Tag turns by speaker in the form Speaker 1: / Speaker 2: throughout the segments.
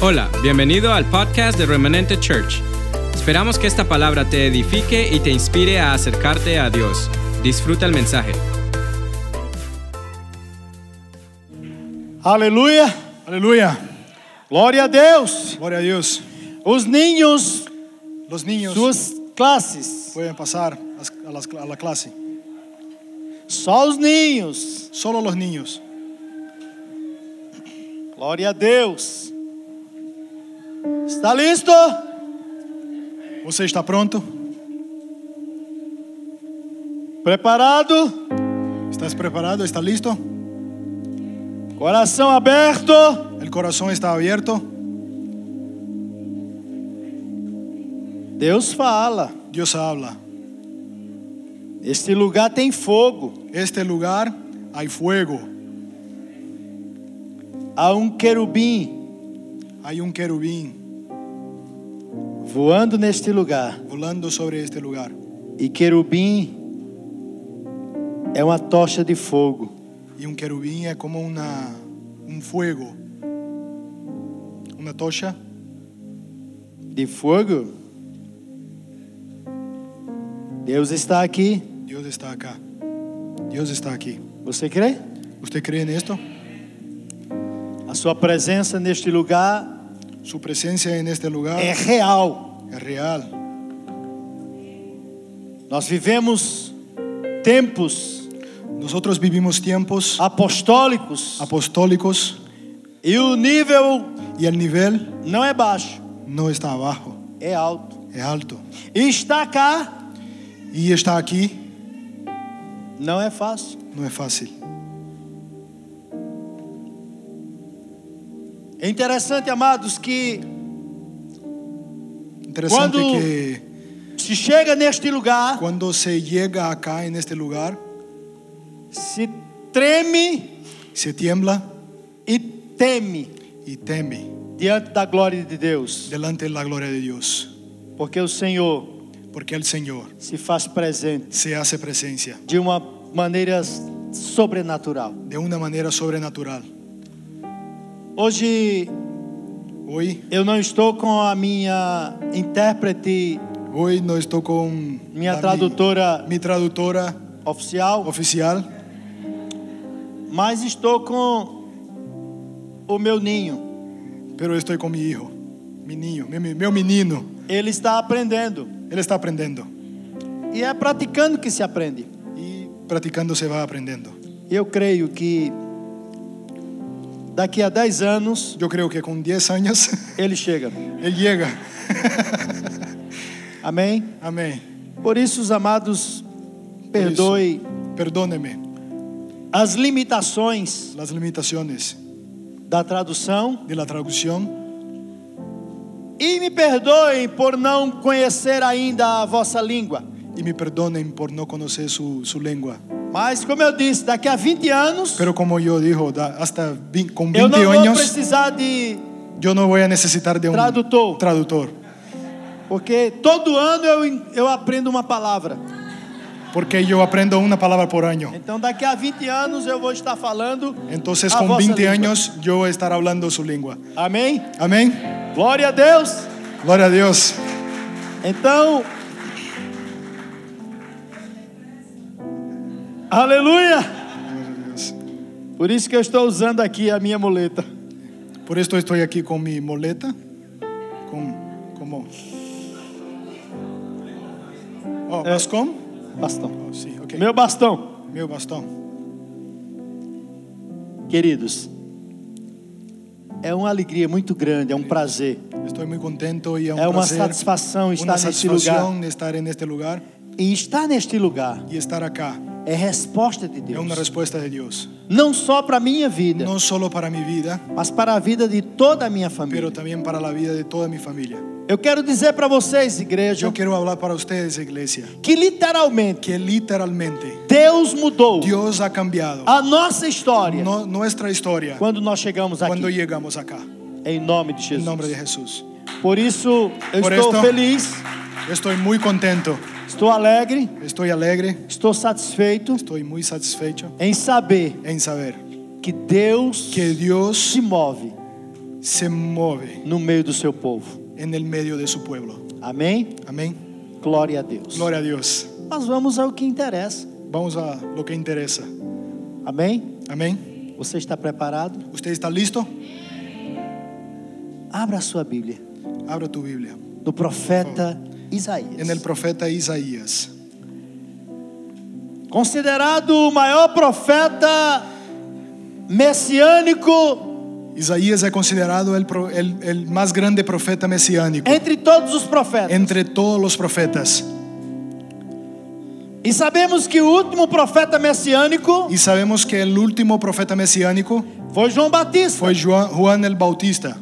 Speaker 1: Hola, bienvenido al podcast de Remanente Church. Esperamos que esta palabra te edifique y te inspire a acercarte a Dios. Disfruta el mensaje.
Speaker 2: Aleluia,
Speaker 3: Aleluya.
Speaker 2: glória a Deus.
Speaker 3: Gloria a Dios.
Speaker 2: Os ninhos,
Speaker 3: Los niños
Speaker 2: suas classes,
Speaker 3: pueden pasar a las- a la clase.
Speaker 2: só os ninhos.
Speaker 3: Solo los niños.
Speaker 2: Glória a Deus. Está listo?
Speaker 3: ¿Usted está pronto?
Speaker 2: Preparado?
Speaker 3: ¿Estás preparado? ¿Está listo?
Speaker 2: Coração aberto?
Speaker 3: ¿El corazón está abierto?
Speaker 2: Deus fala.
Speaker 3: Dios habla.
Speaker 2: Este lugar tem fogo.
Speaker 3: Este lugar hay fuego.
Speaker 2: Há um querubim
Speaker 3: Hay un querubín
Speaker 2: voando neste lugar.
Speaker 3: volando sobre este lugar.
Speaker 2: E querubim é uma tocha de fogo.
Speaker 3: Y un querubín es como una, un fuego. Una tocha
Speaker 2: De fogo? Deus está aqui.
Speaker 3: Dios está acá. Deus está aqui.
Speaker 2: Você crê?
Speaker 3: ¿Usted cree en esto?
Speaker 2: A sua presença neste lugar
Speaker 3: Su presencia en este lugar
Speaker 2: é real.
Speaker 3: es real.
Speaker 2: Nós vivemos tempos
Speaker 3: Nosotros vivimos tiempos
Speaker 2: apostólicos
Speaker 3: apostólicos
Speaker 2: e o nível
Speaker 3: y el nivel
Speaker 2: não é baixo,
Speaker 3: no está abajo,
Speaker 2: é alto.
Speaker 3: es alto.
Speaker 2: E estar cá
Speaker 3: Y está aquí
Speaker 2: não é fácil.
Speaker 3: no es fácil.
Speaker 2: É interessante, amados, que
Speaker 3: Interesante
Speaker 2: Cuando-
Speaker 3: que
Speaker 2: se chega neste lugar,
Speaker 3: cuando se llega acá en este lugar,
Speaker 2: se treme
Speaker 3: se tiembla
Speaker 2: e teme
Speaker 3: y teme
Speaker 2: diante da glória de Deus,
Speaker 3: delante de la gloria de Dios,
Speaker 2: porque o Senhor
Speaker 3: porque el Señor
Speaker 2: se faz presente
Speaker 3: se hace presencia
Speaker 2: de uma maneira sobrenatural.
Speaker 3: de una manera sobrenatural.
Speaker 2: Hoje
Speaker 3: Hoy,
Speaker 2: eu não estou com a minha intérprete,
Speaker 3: hoy no estoy con
Speaker 2: minha
Speaker 3: la-
Speaker 2: tradutora
Speaker 3: mi traductora
Speaker 2: oficial,
Speaker 3: oficial,
Speaker 2: mas estou com o meu ninho.
Speaker 3: pero estoy con mi hijo, mi niño, mi, mi- mi menino.
Speaker 2: Ele está aprendendo
Speaker 3: Él está aprendiendo
Speaker 2: e é praticando que se aprende.
Speaker 3: y practicando se va aprendiendo.
Speaker 2: Eu creio que daqui a 10 anos
Speaker 3: Yo creo que con 10 años
Speaker 2: ele chega.
Speaker 3: él llega.
Speaker 2: Amém?
Speaker 3: Amén.
Speaker 2: Por isso, os amados, perdoe
Speaker 3: Perdóneme
Speaker 2: as limitações
Speaker 3: las limitaciones
Speaker 2: da tradução
Speaker 3: de la traducción
Speaker 2: e me perdoem por não conhecer ainda a vossa língua.
Speaker 3: y me perdonen por no conocer su, su lengua.
Speaker 2: Mas, como eu disse, daqui a 20 anos
Speaker 3: Pero como yo dijo, da- hasta vi- con
Speaker 2: eu
Speaker 3: 20
Speaker 2: não vou
Speaker 3: años
Speaker 2: precisar de
Speaker 3: yo no voy a necesitar de un
Speaker 2: Traductor.
Speaker 3: traductor,
Speaker 2: Porque todo ano eu, eu aprendo uma palavra.
Speaker 3: porque yo aprendo una palabra por año.
Speaker 2: Então daqui a 20 anos eu vou estar falando.
Speaker 3: Entonces
Speaker 2: a
Speaker 3: con
Speaker 2: vossa
Speaker 3: 20
Speaker 2: língua.
Speaker 3: años yo voy a estar hablando su lengua.
Speaker 2: Amém?
Speaker 3: Amén.
Speaker 2: Glória a Deus.
Speaker 3: Gloria a Dios.
Speaker 2: Então. Aleluia!
Speaker 3: Gloria a Dios.
Speaker 2: Por isso que eu estou usando aqui a minha muleta.
Speaker 3: Por esto estoy aquí con mi moleta. Con, como. Oh, ¿bascón?
Speaker 2: Bastão.
Speaker 3: Oh, sí, ok.
Speaker 2: Eh, Meu bastão.
Speaker 3: Meu bastão.
Speaker 2: Queridos, é uma alegria muito grande, é um prazer,
Speaker 3: Estoy muy contento y es un
Speaker 2: é uma
Speaker 3: placer,
Speaker 2: satisfação
Speaker 3: una
Speaker 2: estar neste lugar.
Speaker 3: satisfacción de estar en este lugar
Speaker 2: E estar neste lugar
Speaker 3: y estar acá.
Speaker 2: é resposta de
Speaker 3: Es
Speaker 2: Deus.
Speaker 3: una respuesta de Dios,
Speaker 2: não só para a minha vida,
Speaker 3: no solo para mi vida,
Speaker 2: mas para a vida de toda a minha família.
Speaker 3: pero también para la vida de toda mi familia.
Speaker 2: Eu quero dizer para vocês, igreja,
Speaker 3: Yo quiero hablar para ustedes, iglesia,
Speaker 2: que literalmente
Speaker 3: que literalmente
Speaker 2: Deus mudou
Speaker 3: Dios ha cambiado
Speaker 2: a nossa história
Speaker 3: no- nuestra historia
Speaker 2: quando nós chegamos
Speaker 3: cuando
Speaker 2: aqui,
Speaker 3: llegamos acá.
Speaker 2: em nome de
Speaker 3: En
Speaker 2: Jesus.
Speaker 3: nombre de Jesús.
Speaker 2: Por isso, eu
Speaker 3: Por
Speaker 2: estou
Speaker 3: esto-
Speaker 2: feliz,
Speaker 3: Estoy muy contento.
Speaker 2: estou alegre,
Speaker 3: Estoy alegre,
Speaker 2: estou satisfeito
Speaker 3: estoy muy satisfecho
Speaker 2: em saber
Speaker 3: en saber
Speaker 2: que Deus
Speaker 3: que Dios
Speaker 2: se move
Speaker 3: se mueve
Speaker 2: no meio do seu povo.
Speaker 3: en el medio de su pueblo.
Speaker 2: Amém?
Speaker 3: Amén.
Speaker 2: Glória a Deus.
Speaker 3: Gloria a Dios.
Speaker 2: Mas vamos ao que interessa.
Speaker 3: Vamos a lo que interesa.
Speaker 2: Amém?
Speaker 3: Amén.
Speaker 2: Você está preparado?
Speaker 3: ¿Usted está listo?
Speaker 2: Abra a sua Bíblia
Speaker 3: Abra tu Biblia.
Speaker 2: no profeta Isaías.
Speaker 3: En el profeta Isaías,
Speaker 2: Considerado o maior profeta messiânico
Speaker 3: Isaías es considerado el, pro- el- el más grande profeta mesiánico
Speaker 2: entre todos os profetas.
Speaker 3: entre todos los profetas.
Speaker 2: E sabemos que o último profeta messiânico
Speaker 3: Y sabemos que el último profeta mesiánico
Speaker 2: foi João Batista.
Speaker 3: fue Juan, Juan el Bautista.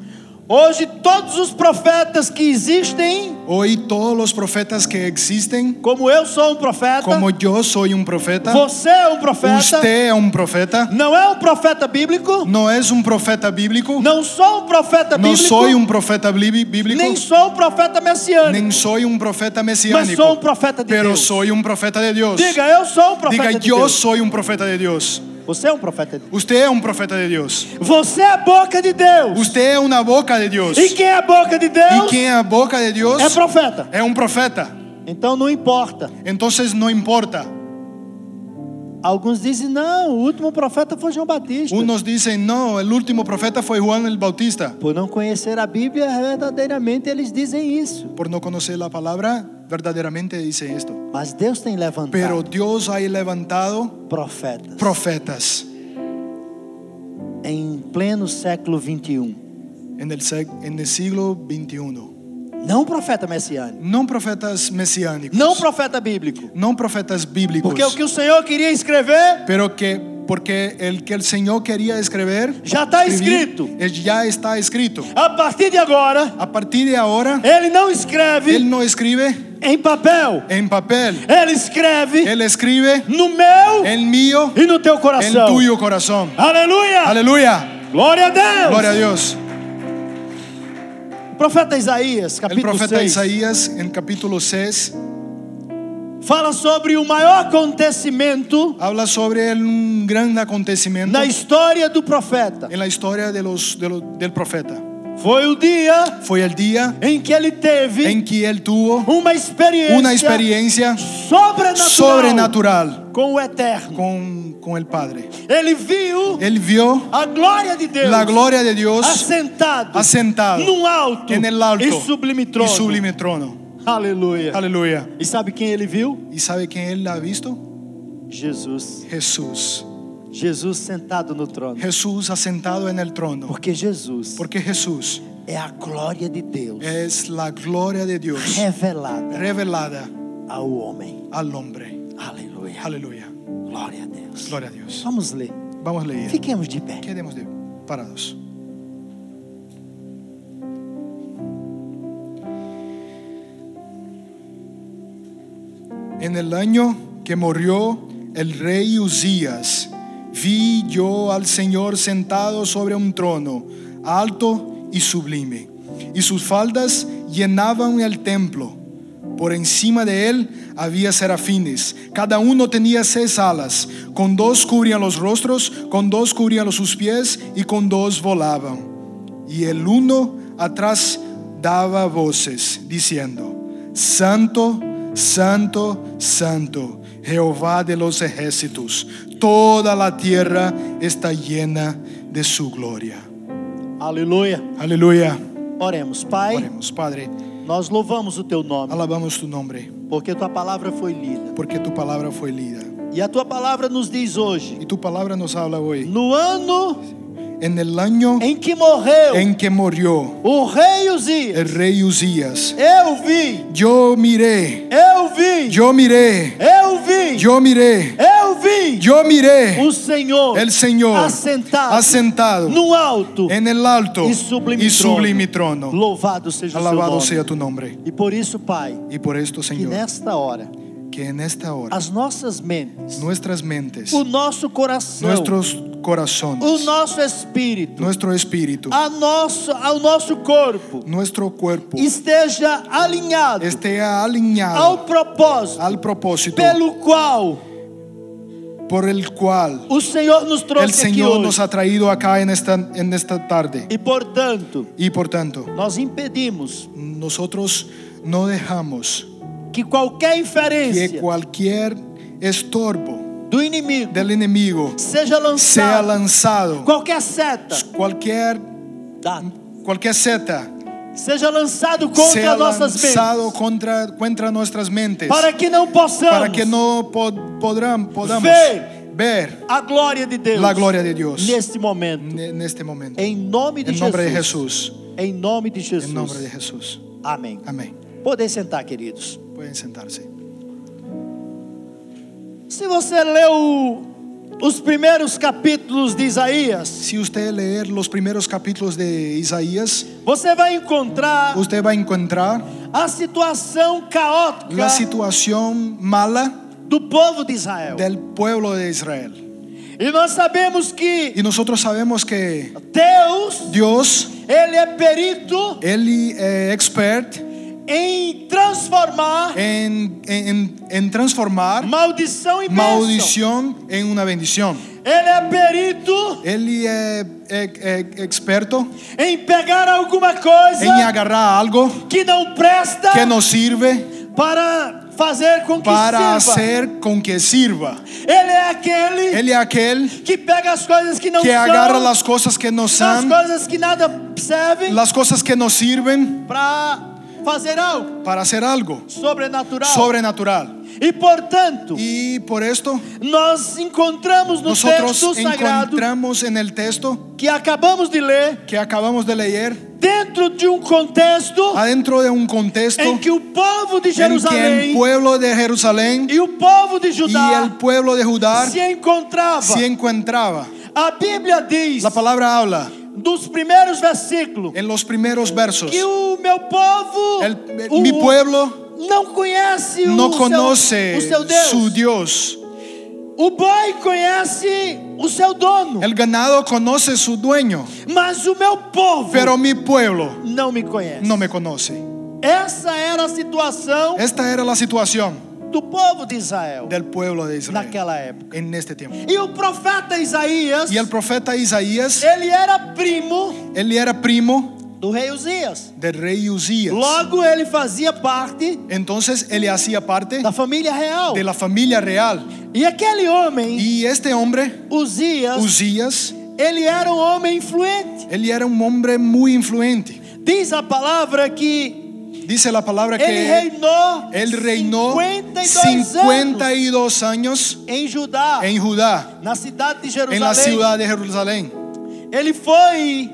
Speaker 2: Hoje todos os profetas que existem,
Speaker 3: Hoy todos los profetas que existen,
Speaker 2: como eu sou um profeta,
Speaker 3: como yo soy un profeta,
Speaker 2: você é um profeta,
Speaker 3: usted es un profeta,
Speaker 2: não é um profeta bíblico,
Speaker 3: no es un profeta bíblico,
Speaker 2: não sou um profeta
Speaker 3: no
Speaker 2: bíblico,
Speaker 3: soy un profeta bí- bíblico,
Speaker 2: nem sou um profeta messiânico,
Speaker 3: ni soy un profeta
Speaker 2: mas sou um
Speaker 3: mesiánico,
Speaker 2: profeta de
Speaker 3: pero
Speaker 2: Deus.
Speaker 3: soy un profeta de Dios.
Speaker 2: Diga, eu sou um profeta
Speaker 3: Diga,
Speaker 2: de
Speaker 3: yo
Speaker 2: Deus.
Speaker 3: soy un profeta de Dios.
Speaker 2: Você é um profeta de Deus.
Speaker 3: Usted es un profeta de Dios.
Speaker 2: Você é a boca de Deus.
Speaker 3: Usted es una boca de Dios.
Speaker 2: E quem é a boca de
Speaker 3: Y
Speaker 2: Deus
Speaker 3: quien es la boca de Dios
Speaker 2: é profeta.
Speaker 3: es un profeta.
Speaker 2: Então não importa.
Speaker 3: Entonces no importa.
Speaker 2: Alguns dizem, não, o último profeta foi João Batista.
Speaker 3: Unos dicen, no, el último profeta fue Juan el Bautista.
Speaker 2: Por não conhecer a Bíblia, verdadeiramente eles dizem isso.
Speaker 3: Por no conocer la palabra, verdaderamente dice esto.
Speaker 2: Mas Deus tem levantado
Speaker 3: Pero Dios ha levantado
Speaker 2: profetas
Speaker 3: profetas
Speaker 2: em pleno século 21.
Speaker 3: en el, sec- en el siglo XXI.
Speaker 2: Não um profeta messiânico,
Speaker 3: No profetas mesiánicos.
Speaker 2: não um profeta bíblico.
Speaker 3: no profetas bíblicos.
Speaker 2: Porque o que o Senhor queria escrever
Speaker 3: Pero que porque el que el Señor quería escribir
Speaker 2: Já está
Speaker 3: escribir,
Speaker 2: escrito.
Speaker 3: es- ya está escrito.
Speaker 2: a partir de agora,
Speaker 3: A partir de ahora
Speaker 2: ele não escreve
Speaker 3: él no escribe
Speaker 2: em papel.
Speaker 3: en papel,
Speaker 2: Ele escreve
Speaker 3: él escribe
Speaker 2: no meu
Speaker 3: en mío,
Speaker 2: e no teu
Speaker 3: en
Speaker 2: coração.
Speaker 3: tuyo corazón.
Speaker 2: Aleluia!
Speaker 3: Aleluya.
Speaker 2: Glória a Deus!
Speaker 3: Gloria a Dios.
Speaker 2: O profeta Isaías,
Speaker 3: El
Speaker 2: capítulo
Speaker 3: profeta
Speaker 2: 6,
Speaker 3: Isaías en capítulo 6
Speaker 2: fala sobre o maior acontecimento
Speaker 3: habla sobre el- un gran acontecimiento
Speaker 2: na história do profeta.
Speaker 3: en la historia de los, de lo- del profeta.
Speaker 2: Foi o dia
Speaker 3: Fue el día
Speaker 2: em que ele teve
Speaker 3: en que él tuvo
Speaker 2: uma experiência,
Speaker 3: una experiencia
Speaker 2: sobrenatural,
Speaker 3: sobrenatural
Speaker 2: com o Eterno.
Speaker 3: con, con el Padre.
Speaker 2: Ele viu
Speaker 3: Él vio
Speaker 2: a glória de Deus
Speaker 3: la gloria de Dios
Speaker 2: assentado,
Speaker 3: assentado
Speaker 2: num alto,
Speaker 3: en el alto
Speaker 2: e sublime trono.
Speaker 3: y sublime trono.
Speaker 2: Aleluia.
Speaker 3: Aleluya.
Speaker 2: E sabe quem ele viu?
Speaker 3: ¿Y sabe quién él la ha visto?
Speaker 2: Jesus.
Speaker 3: Jesús.
Speaker 2: Jesus sentado no trono.
Speaker 3: Jesús asentado en el trono.
Speaker 2: Porque Jesus
Speaker 3: Porque Jesús
Speaker 2: é a glória de Deus
Speaker 3: es la gloria de Dios
Speaker 2: revelada
Speaker 3: revelada
Speaker 2: ao homem.
Speaker 3: al hombre.
Speaker 2: Aleluia.
Speaker 3: Aleluya.
Speaker 2: Glória a Deus.
Speaker 3: Gloria a Dios.
Speaker 2: Vamos ler.
Speaker 3: Vamos a leer.
Speaker 2: Fiquemos de pé.
Speaker 3: Quedemos de parados. En el año que murió el rey Uzías, vi yo al Señor sentado sobre un trono alto y sublime, y sus faldas llenaban el templo. Por encima de él había serafines, cada uno tenía seis alas, con dos cubrían los rostros, con dos cubrían los- sus pies y con dos volaban. Y el uno atrás daba voces, diciendo, Santo, Santo, Santo, Jehová de los ejércitos, toda la tierra está llena de su gloria.
Speaker 2: Aleluia.
Speaker 3: Aleluya.
Speaker 2: Oremos, Pai.
Speaker 3: Oremos, Padre,
Speaker 2: Nós louvamos o teu nome,
Speaker 3: alabamos tu nombre,
Speaker 2: porque tua palavra foi lida.
Speaker 3: porque tu palabra fue leída.
Speaker 2: E a tua palavra nos diz hoje:
Speaker 3: Y tu palabra nos habla hoy.
Speaker 2: no ano
Speaker 3: En el año
Speaker 2: em que morreu
Speaker 3: en que murió
Speaker 2: o rei Uzias,
Speaker 3: el rey Uzías,
Speaker 2: eu vi,
Speaker 3: yo miré,
Speaker 2: eu vi,
Speaker 3: yo miré,
Speaker 2: eu vi,
Speaker 3: yo miré,
Speaker 2: eu vi
Speaker 3: yo miré
Speaker 2: o Senhor,
Speaker 3: el Señor
Speaker 2: assentado,
Speaker 3: asentado
Speaker 2: no alto
Speaker 3: en el alto
Speaker 2: e sublime,
Speaker 3: y sublime
Speaker 2: trono.
Speaker 3: trono.
Speaker 2: Louvado seja
Speaker 3: Alabado
Speaker 2: o seu
Speaker 3: sea
Speaker 2: nome.
Speaker 3: tu nombre.
Speaker 2: E por isso, Pai,
Speaker 3: Y por esto,
Speaker 2: que
Speaker 3: Señor,
Speaker 2: nesta hora
Speaker 3: que en esta hora
Speaker 2: as nossas mentes,
Speaker 3: nuestras mentes,
Speaker 2: o nosso coração,
Speaker 3: nuestros
Speaker 2: o
Speaker 3: corazones,
Speaker 2: nosso espírito,
Speaker 3: nuestro espíritu,
Speaker 2: a nosso, ao nosso corpo
Speaker 3: nuestro cuerpo
Speaker 2: esteja alinhado
Speaker 3: esté alineado
Speaker 2: ao propósito
Speaker 3: al propósito
Speaker 2: pelo qual
Speaker 3: por el cual
Speaker 2: o Senhor nos trouxe
Speaker 3: el
Speaker 2: aqui
Speaker 3: Señor
Speaker 2: hoje.
Speaker 3: nos ha traído acá en esta, en esta tarde.
Speaker 2: E portanto,
Speaker 3: Y por tanto,
Speaker 2: nós impedimos
Speaker 3: nosotros no dejamos
Speaker 2: que qualquer
Speaker 3: que
Speaker 2: inferência
Speaker 3: cualquier estorbo
Speaker 2: do inimigo
Speaker 3: del enemigo
Speaker 2: seja
Speaker 3: sea
Speaker 2: lançada,
Speaker 3: lanzado.
Speaker 2: qualquer seta,
Speaker 3: Cualquier,
Speaker 2: dá,
Speaker 3: cualquier seta
Speaker 2: seja lançado
Speaker 3: sea
Speaker 2: contra nossas
Speaker 3: lanzado
Speaker 2: mentes,
Speaker 3: contra, contra nuestras mentes
Speaker 2: para que não
Speaker 3: para que
Speaker 2: possamos
Speaker 3: no pod- podrán, podamos
Speaker 2: Ver.
Speaker 3: ver
Speaker 2: a glória de Deus
Speaker 3: la gloria de Dios
Speaker 2: neste momento.
Speaker 3: ne- en este momento.
Speaker 2: Em nome de
Speaker 3: En nombre de
Speaker 2: Jesus.
Speaker 3: Jesús.
Speaker 2: Em nome de
Speaker 3: En nombre de
Speaker 2: Jesus.
Speaker 3: Jesús.
Speaker 2: Amém.
Speaker 3: Amén.
Speaker 2: Podem sentar, queridos.
Speaker 3: Pueden sentarse.
Speaker 2: Se você leu os primeiros capítulos de Isaías,
Speaker 3: Si usted leer los primeros capítulos de Isaías,
Speaker 2: você vai encontrar
Speaker 3: usted va a encontrar
Speaker 2: a situação caótica
Speaker 3: la situación mala
Speaker 2: do povo de Israel.
Speaker 3: del pueblo de Israel.
Speaker 2: E nós sabemos que
Speaker 3: Y nosotros sabemos que
Speaker 2: Deus,
Speaker 3: Dios,
Speaker 2: ele é perito
Speaker 3: Él es expert
Speaker 2: em transformar
Speaker 3: en, en- en transformar
Speaker 2: maldição em bênção.
Speaker 3: maldición en una bendición.
Speaker 2: Ele é perito
Speaker 3: Él es experto
Speaker 2: em pegar alguma
Speaker 3: en
Speaker 2: coisa
Speaker 3: agarrar algo
Speaker 2: que não presta
Speaker 3: que nos sirve
Speaker 2: para fazer com que
Speaker 3: para
Speaker 2: sirva.
Speaker 3: hacer con que sirva.
Speaker 2: Ele é aquele
Speaker 3: Él es aquel
Speaker 2: que pega as coisas que não
Speaker 3: que
Speaker 2: são,
Speaker 3: agarra las cosas que nos
Speaker 2: as
Speaker 3: son,
Speaker 2: coisas que nada servem
Speaker 3: las cosas que nos sirven
Speaker 2: para fazer algo
Speaker 3: para hacer algo
Speaker 2: sobrenatural.
Speaker 3: sobrenatural.
Speaker 2: E portanto,
Speaker 3: Y por esto
Speaker 2: nós encontramos no texto
Speaker 3: nosotros
Speaker 2: sagrado
Speaker 3: encontramos en el texto
Speaker 2: que acabamos de ler,
Speaker 3: que acabamos de leer,
Speaker 2: dentro de um contexto
Speaker 3: adentro de un contexto
Speaker 2: em que o povo de
Speaker 3: en que el
Speaker 2: Jerusalém
Speaker 3: pueblo de Jerusalén
Speaker 2: e o povo de
Speaker 3: y
Speaker 2: Judá
Speaker 3: el pueblo de Judá
Speaker 2: se encontrava.
Speaker 3: se encontraba.
Speaker 2: A Bíblia diz,
Speaker 3: La palabra habla
Speaker 2: dos primeiros versículos,
Speaker 3: en los primeros versos.
Speaker 2: que o meu povo,
Speaker 3: El- eh,
Speaker 2: o-
Speaker 3: mi pueblo
Speaker 2: não conhece o,
Speaker 3: no
Speaker 2: seu,
Speaker 3: conoce
Speaker 2: o seu Deus.
Speaker 3: su Dios.
Speaker 2: O boi conhece o seu dono,
Speaker 3: El ganado conoce su dueño,
Speaker 2: mas o meu povo
Speaker 3: pero mi pueblo
Speaker 2: não me conhece.
Speaker 3: no me conoce.
Speaker 2: Essa era a situação
Speaker 3: Esta era la situación
Speaker 2: do povo de Israel
Speaker 3: del pueblo de Israel
Speaker 2: naquela época.
Speaker 3: en este tiempo.
Speaker 2: E o profeta Isaías,
Speaker 3: Y el profeta Isaías,
Speaker 2: ele era primo
Speaker 3: él era primo
Speaker 2: do rei Uzias.
Speaker 3: del rey Usías.
Speaker 2: Logo, ele fazia parte
Speaker 3: Entonces él hacía parte
Speaker 2: da família real.
Speaker 3: de la familia real.
Speaker 2: E aquele homem,
Speaker 3: Y este hombre,
Speaker 2: Uzias,
Speaker 3: Usías,
Speaker 2: ele era um homem influente.
Speaker 3: él era un hombre muy influente.
Speaker 2: Diz a palavra que
Speaker 3: Dice la palabra
Speaker 2: ele
Speaker 3: que
Speaker 2: reinou
Speaker 3: él reinó
Speaker 2: 52 anos.
Speaker 3: 52 años
Speaker 2: em Judá,
Speaker 3: en Judá,
Speaker 2: na cidade de
Speaker 3: en la
Speaker 2: Jerusalém.
Speaker 3: ciudad de Jerusalén.
Speaker 2: Ele foi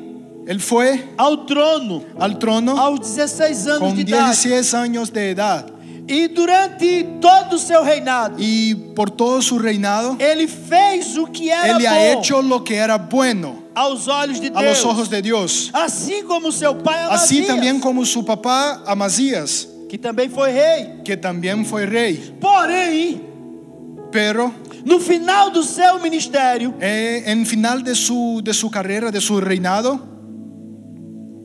Speaker 3: Él fue
Speaker 2: ao trono
Speaker 3: al trono
Speaker 2: aos 16 anos
Speaker 3: con
Speaker 2: de idade.
Speaker 3: 16 años de edad
Speaker 2: E durante todo o seu reinado,
Speaker 3: y por todo su reinado,
Speaker 2: ele fez o que era
Speaker 3: él ha
Speaker 2: bom
Speaker 3: hecho lo que era bueno
Speaker 2: aos olhos de
Speaker 3: a los
Speaker 2: Deus.
Speaker 3: ojos de Assim Dios.
Speaker 2: Assim como seu pai
Speaker 3: Así
Speaker 2: Amazias,
Speaker 3: también como su papá Amasías,
Speaker 2: que também foi rei.
Speaker 3: que también fue rey,
Speaker 2: Porém,
Speaker 3: pero
Speaker 2: no final do seu ministério,
Speaker 3: eh, en final de su, de su carrera, de su reinado,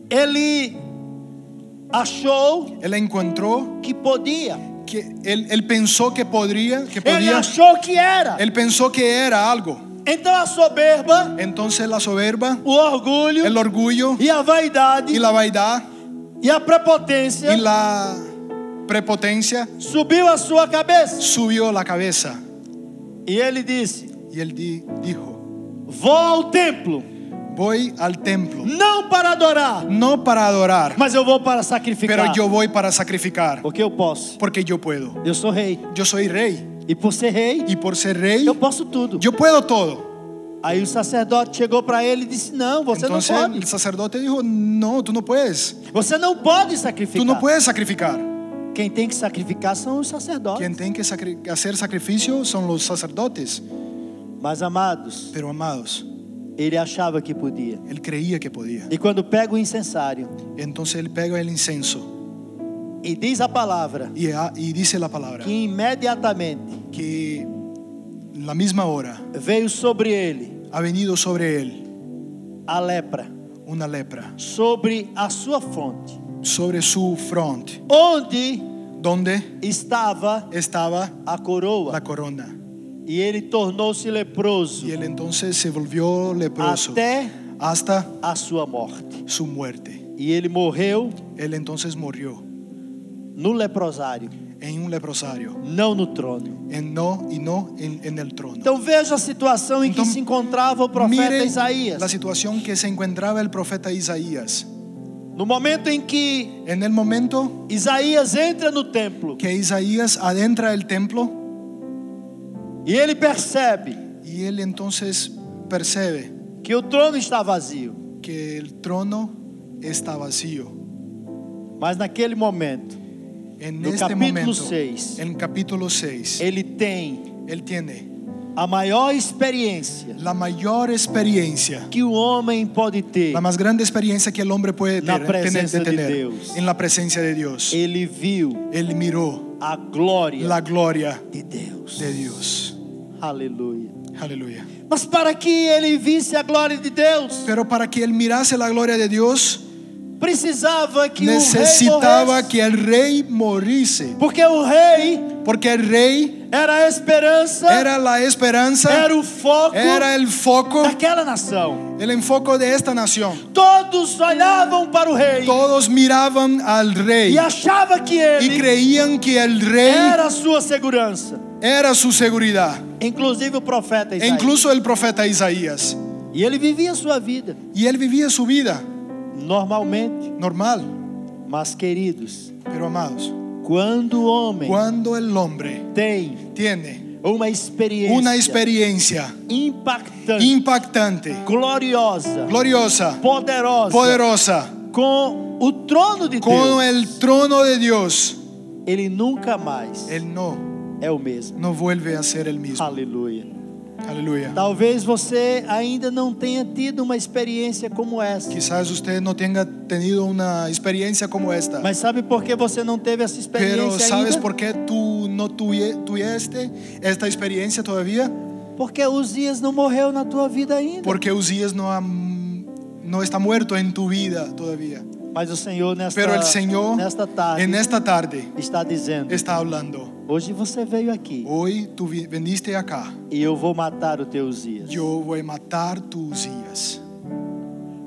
Speaker 2: ele achou
Speaker 3: él encontró
Speaker 2: que podia.
Speaker 3: que él, él pensó que podría, que
Speaker 2: Ele
Speaker 3: podía,
Speaker 2: achou que era.
Speaker 3: él pensó que era algo.
Speaker 2: Então a soberba,
Speaker 3: Entonces la soberba,
Speaker 2: o orgulho
Speaker 3: el orgullo
Speaker 2: e a vaidade
Speaker 3: y la vaidad
Speaker 2: e a prepotência
Speaker 3: y la prepotencia
Speaker 2: subiu à sua cabeça.
Speaker 3: subió la cabeza
Speaker 2: E ele disse:
Speaker 3: y él di- dijo,
Speaker 2: Vou ao templo,
Speaker 3: voy al templo,
Speaker 2: não para adorar,
Speaker 3: no para adorar,
Speaker 2: mas eu vou para sacrificar.
Speaker 3: pero yo voy para sacrificar,
Speaker 2: Porque eu posso.
Speaker 3: porque yo puedo.
Speaker 2: Eu sou rei.
Speaker 3: Yo soy rei
Speaker 2: E por ser rei,
Speaker 3: y por ser rey,
Speaker 2: eu posso tudo.
Speaker 3: yo puedo todo.
Speaker 2: Aí o sacerdote chegou para ele e disse: Não, você
Speaker 3: Entonces
Speaker 2: não
Speaker 3: el
Speaker 2: pode.
Speaker 3: sacerdote dijo, no, tú no puedes,
Speaker 2: Você não pode sacrificar.
Speaker 3: tú no puedes sacrificar.
Speaker 2: Quem tem que sacrificar são os sacerdotes.
Speaker 3: Quien tiene que sacri- hacer sacrificio son los sacerdotes.
Speaker 2: Mas amados,
Speaker 3: Pero amados,
Speaker 2: ele achava que podia.
Speaker 3: él creía que podía.
Speaker 2: E quando pega o incensário
Speaker 3: Entonces él pega el incenso
Speaker 2: e diz a palavra,
Speaker 3: y, a- y dice la palabra
Speaker 2: que imediatamente
Speaker 3: que en la misma hora
Speaker 2: veio sobre ele
Speaker 3: ha venido sobre él
Speaker 2: a lepra,
Speaker 3: una lepra
Speaker 2: sobre a sua fonte,
Speaker 3: sobre su front,
Speaker 2: onde
Speaker 3: donde
Speaker 2: estava
Speaker 3: estaba
Speaker 2: a coroa
Speaker 3: la corona
Speaker 2: E ele tornou-se leproso
Speaker 3: Y él entonces se volvió leproso
Speaker 2: até
Speaker 3: hasta
Speaker 2: a sua morte.
Speaker 3: su muerte.
Speaker 2: E ele morreu
Speaker 3: Él entonces murió
Speaker 2: no leprosário,
Speaker 3: en un leprosario
Speaker 2: não no trono.
Speaker 3: en no, y no en, en el trono.
Speaker 2: Então veja a situação em que
Speaker 3: Então,
Speaker 2: se encontrava o profeta
Speaker 3: Miren la
Speaker 2: Isaías.
Speaker 3: situación que se encontraba el profeta Isaías.
Speaker 2: No momento em que
Speaker 3: En el momento
Speaker 2: Isaías entra no templo
Speaker 3: que Isaías adentra el templo
Speaker 2: e ele percebe
Speaker 3: y él entonces percibe
Speaker 2: que o trono está vazio,
Speaker 3: que el trono está vacío.
Speaker 2: mas naquele momento
Speaker 3: En
Speaker 2: No
Speaker 3: este
Speaker 2: capítulo
Speaker 3: momento,
Speaker 2: seis.
Speaker 3: en capítulo 6,
Speaker 2: ele tem
Speaker 3: él tiene
Speaker 2: a maior experiência
Speaker 3: la mayor experiencia
Speaker 2: que o homem pode ter.
Speaker 3: La más grande experiencia que el hombre puede
Speaker 2: La
Speaker 3: tener, tener-
Speaker 2: presencia
Speaker 3: de
Speaker 2: de
Speaker 3: tener
Speaker 2: Dios.
Speaker 3: en la presencia de Dios.
Speaker 2: Ele viu
Speaker 3: Él miró
Speaker 2: a glória
Speaker 3: la gloria
Speaker 2: de Deus.
Speaker 3: de Dios.
Speaker 2: Aleluia.
Speaker 3: Aleluya.
Speaker 2: Mas para que ele visse a glória de Deus,
Speaker 3: Pero para que él mirase la gloria de Dios,
Speaker 2: precisava que o rei
Speaker 3: necesitaba
Speaker 2: morresse,
Speaker 3: que el rey moriese.
Speaker 2: porque o rei
Speaker 3: Porque el rey
Speaker 2: era a esperança,
Speaker 3: era la esperanza,
Speaker 2: era o foco
Speaker 3: era el foco,
Speaker 2: daquela nação.
Speaker 3: el enfoque de esta nación.
Speaker 2: Todos olhavam para o rei
Speaker 3: Todos miraban al rey
Speaker 2: e achavam que
Speaker 3: y
Speaker 2: ele
Speaker 3: creían que el rey
Speaker 2: era a sua segurança.
Speaker 3: era su seguridad.
Speaker 2: Inclusive o profeta
Speaker 3: E
Speaker 2: Isaías.
Speaker 3: incluso el profeta Isaías.
Speaker 2: E ele vivia a sua vida
Speaker 3: Y él vivía su vida.
Speaker 2: normalmente.
Speaker 3: normal,
Speaker 2: Mas, queridos,
Speaker 3: pero amados,
Speaker 2: quando o homem
Speaker 3: cuando el hombre
Speaker 2: tem
Speaker 3: tiene
Speaker 2: uma experiência,
Speaker 3: una experiencia
Speaker 2: impactante,
Speaker 3: impactante,
Speaker 2: gloriosa,
Speaker 3: gloriosa,
Speaker 2: poderosa,
Speaker 3: poderosa,
Speaker 2: com o trono de
Speaker 3: con
Speaker 2: Deus,
Speaker 3: el trono de Dios,
Speaker 2: ele nunca mais
Speaker 3: él no,
Speaker 2: é o mesmo.
Speaker 3: no vuelve a ser el mismo.
Speaker 2: Aleluia.
Speaker 3: Aleluya.
Speaker 2: Talvez você ainda não tenha tido uma experiência como essa.
Speaker 3: Quizás usted no tenga tenido una experiencia como esta,
Speaker 2: Mas sabe por que você não teve essa experiência
Speaker 3: pero ¿sabes
Speaker 2: ainda?
Speaker 3: por qué tú no tuvie- tuviste esta experiencia todavía?
Speaker 2: Porque Uzias não morreu na tua vida ainda.
Speaker 3: Porque Usías no, ha- no está muerto en tu vida todavía.
Speaker 2: Mas o Senhor nesta,
Speaker 3: Pero el Señor
Speaker 2: nesta tarde
Speaker 3: en esta tarde
Speaker 2: está dizendo:
Speaker 3: está hablando.
Speaker 2: Hoje você veio aqui
Speaker 3: Hoy tú vi- viniste acá.
Speaker 2: e eu vou matar o teu Uzias.
Speaker 3: Yo voy a matar tu Usías.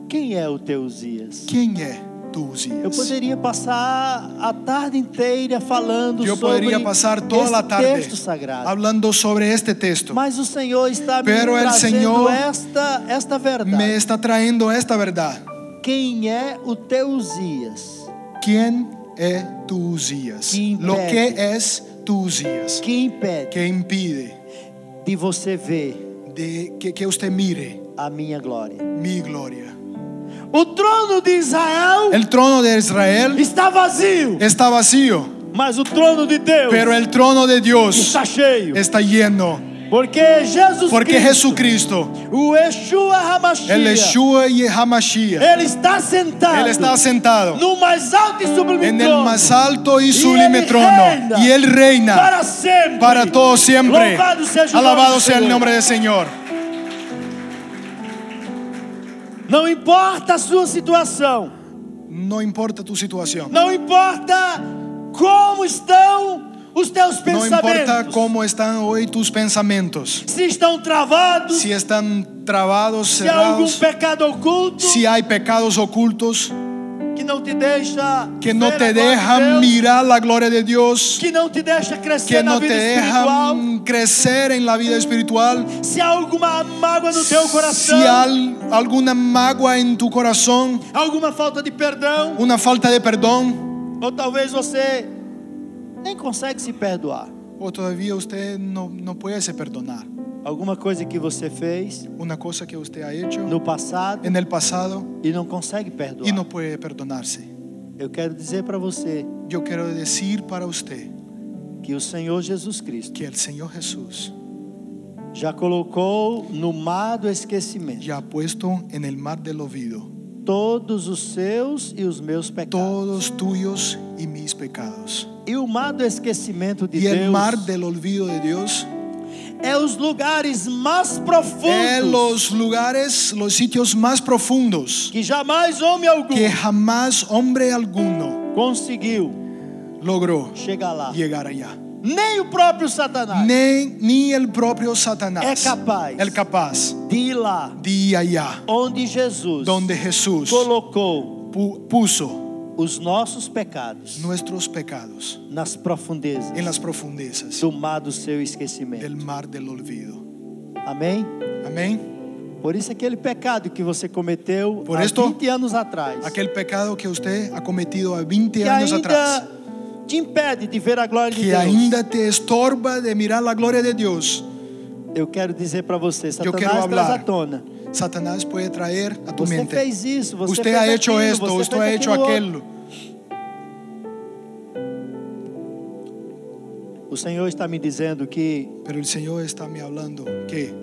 Speaker 2: Quem é o teu Uzias?
Speaker 3: ¿Quién es tu
Speaker 2: Eu
Speaker 3: Usías?
Speaker 2: poderia passar a tarde inteira falando
Speaker 3: Yo
Speaker 2: sobre
Speaker 3: podría pasar toda
Speaker 2: esse
Speaker 3: la tarde
Speaker 2: texto sagrado.
Speaker 3: hablando sobre este texto.
Speaker 2: Mas o Senhor está me
Speaker 3: Pero el
Speaker 2: trazendo
Speaker 3: Senhor
Speaker 2: esta, esta verdade.
Speaker 3: Me está trayendo esta verdad.
Speaker 2: Quem é o teu Uzias
Speaker 3: ¿Quién es tu Usías?
Speaker 2: Que
Speaker 3: Lo que
Speaker 2: impede.
Speaker 3: es tu Usías
Speaker 2: que impede
Speaker 3: que impide
Speaker 2: de você ver
Speaker 3: de que, que usted mire
Speaker 2: a minha glória?
Speaker 3: mi gloria.
Speaker 2: O trono de Israel
Speaker 3: El trono de Israel
Speaker 2: está vazio,
Speaker 3: está vacío,
Speaker 2: mas o trono de Deus
Speaker 3: pero é el trono de Dios
Speaker 2: está cheio.
Speaker 3: está lleno.
Speaker 2: Porque Jesus
Speaker 3: Porque é
Speaker 2: Cristo,
Speaker 3: Jesucristo,
Speaker 2: o Yeshua Hamashiach,
Speaker 3: el é Yeshua y el Hamashiach,
Speaker 2: ele está sentado
Speaker 3: Él está sentado
Speaker 2: no mais alto e sublime
Speaker 3: en el
Speaker 2: trono.
Speaker 3: más alto y
Speaker 2: Y
Speaker 3: sublime
Speaker 2: Él
Speaker 3: trono.
Speaker 2: reina
Speaker 3: Y Él reina
Speaker 2: para sempre.
Speaker 3: para todos siempre.
Speaker 2: Louvado seja o
Speaker 3: Alabado
Speaker 2: nome do
Speaker 3: sea el
Speaker 2: Senhor.
Speaker 3: nombre del Señor.
Speaker 2: Não importa a sua situação,
Speaker 3: No importa tu situación.
Speaker 2: não importa como estão os teus
Speaker 3: No importa
Speaker 2: pensamentos,
Speaker 3: cómo están hoy tus pensamientos.
Speaker 2: se estão travados,
Speaker 3: Si están trabados,
Speaker 2: se há algum
Speaker 3: cerrados.
Speaker 2: pecado oculto
Speaker 3: Si hay pecados ocultos
Speaker 2: que não te deixa
Speaker 3: que no te
Speaker 2: ver a glória de
Speaker 3: dejan
Speaker 2: Deus,
Speaker 3: mirar la gloria de Dios.
Speaker 2: que não te deixa crescer
Speaker 3: Que
Speaker 2: na
Speaker 3: no te
Speaker 2: vida espiritual,
Speaker 3: dejan crecer en la vida espiritual.
Speaker 2: se há alguma mágoa no teu coração,
Speaker 3: Si hay alguna magua en tu corazón,
Speaker 2: alguma falta de perdão,
Speaker 3: una falta de perdón,
Speaker 2: ou talvez você nem consegue se perdoar,
Speaker 3: o todavía usted no, no puede se perdonar.
Speaker 2: alguma coisa que você fez
Speaker 3: Una cosa que usted ha hecho
Speaker 2: no passado
Speaker 3: en el pasado
Speaker 2: e não consegue perdoar.
Speaker 3: y no puede perdonarse.
Speaker 2: Eu quero dizer para você
Speaker 3: Yo quiero decir para usted
Speaker 2: que o Senhor Jesus Cristo
Speaker 3: que é el Señor Jesús
Speaker 2: já colocou no mar do esquecimento
Speaker 3: ya ha puesto en el mar del olvido
Speaker 2: todos os seus e os meus pecados.
Speaker 3: todos tuyos y mis pecados.
Speaker 2: E o mar do esquecimento de
Speaker 3: Y el
Speaker 2: Deus
Speaker 3: é mar del olvido de Dios
Speaker 2: é os lugares mais
Speaker 3: es
Speaker 2: profundos
Speaker 3: los lugares, los sitios más profundos
Speaker 2: que jamais homem algum
Speaker 3: que jamás hombre alguno
Speaker 2: conseguiu
Speaker 3: logró
Speaker 2: chegar lá.
Speaker 3: llegar allá.
Speaker 2: nem o próprio Satanás
Speaker 3: nem, nem el propio
Speaker 2: é
Speaker 3: Satanás
Speaker 2: capaz
Speaker 3: el capaz
Speaker 2: de ir lá
Speaker 3: de ir allá
Speaker 2: onde Jesus
Speaker 3: donde Jesús
Speaker 2: colocou
Speaker 3: pu- puso
Speaker 2: os nossos pecados
Speaker 3: nuestros pecados
Speaker 2: nas profundezas
Speaker 3: en las profundezas
Speaker 2: do mar do seu esquecimento.
Speaker 3: del mar del olvido.
Speaker 2: Amém?
Speaker 3: Amén.
Speaker 2: Por isso aquele pecado que você cometeu
Speaker 3: Por
Speaker 2: há
Speaker 3: isto,
Speaker 2: 20 anos atrás,
Speaker 3: Aquel pecado que usted ha cometido a 20
Speaker 2: que
Speaker 3: años
Speaker 2: ainda
Speaker 3: atrás,
Speaker 2: te impede de ver a glória de
Speaker 3: que
Speaker 2: Deus.
Speaker 3: ainda te estorba de mirar la gloria de Dios,
Speaker 2: Eu quero dizer para você,
Speaker 3: Eu quero
Speaker 2: Satanás traz
Speaker 3: falar.
Speaker 2: à tona.
Speaker 3: Satanás puede traer a tu
Speaker 2: Você
Speaker 3: mente.
Speaker 2: fez isso, você
Speaker 3: Usted
Speaker 2: fez
Speaker 3: ha hecho
Speaker 2: aquilo,
Speaker 3: esto,
Speaker 2: você
Speaker 3: usted
Speaker 2: fez
Speaker 3: ha hecho
Speaker 2: aquilo
Speaker 3: aquello.
Speaker 2: outro. O Senhor está me dizendo que
Speaker 3: Pero el Señor está me hablando que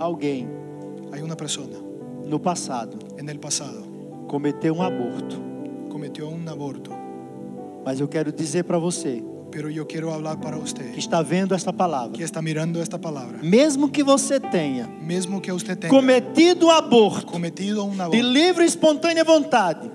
Speaker 2: alguém
Speaker 3: hay una persona
Speaker 2: no passado
Speaker 3: en el pasado
Speaker 2: cometeu um aborto.
Speaker 3: cometió un aborto,
Speaker 2: Mas eu quero dizer para você
Speaker 3: pero yo quiero hablar para
Speaker 2: que
Speaker 3: usted
Speaker 2: está vendo esta palavra,
Speaker 3: que está mirando esta palabra,
Speaker 2: mesmo que você tenha
Speaker 3: mismo que usted tenga
Speaker 2: cometido o aborto
Speaker 3: cometido un
Speaker 2: de
Speaker 3: aborto
Speaker 2: livre e espontânea vontade,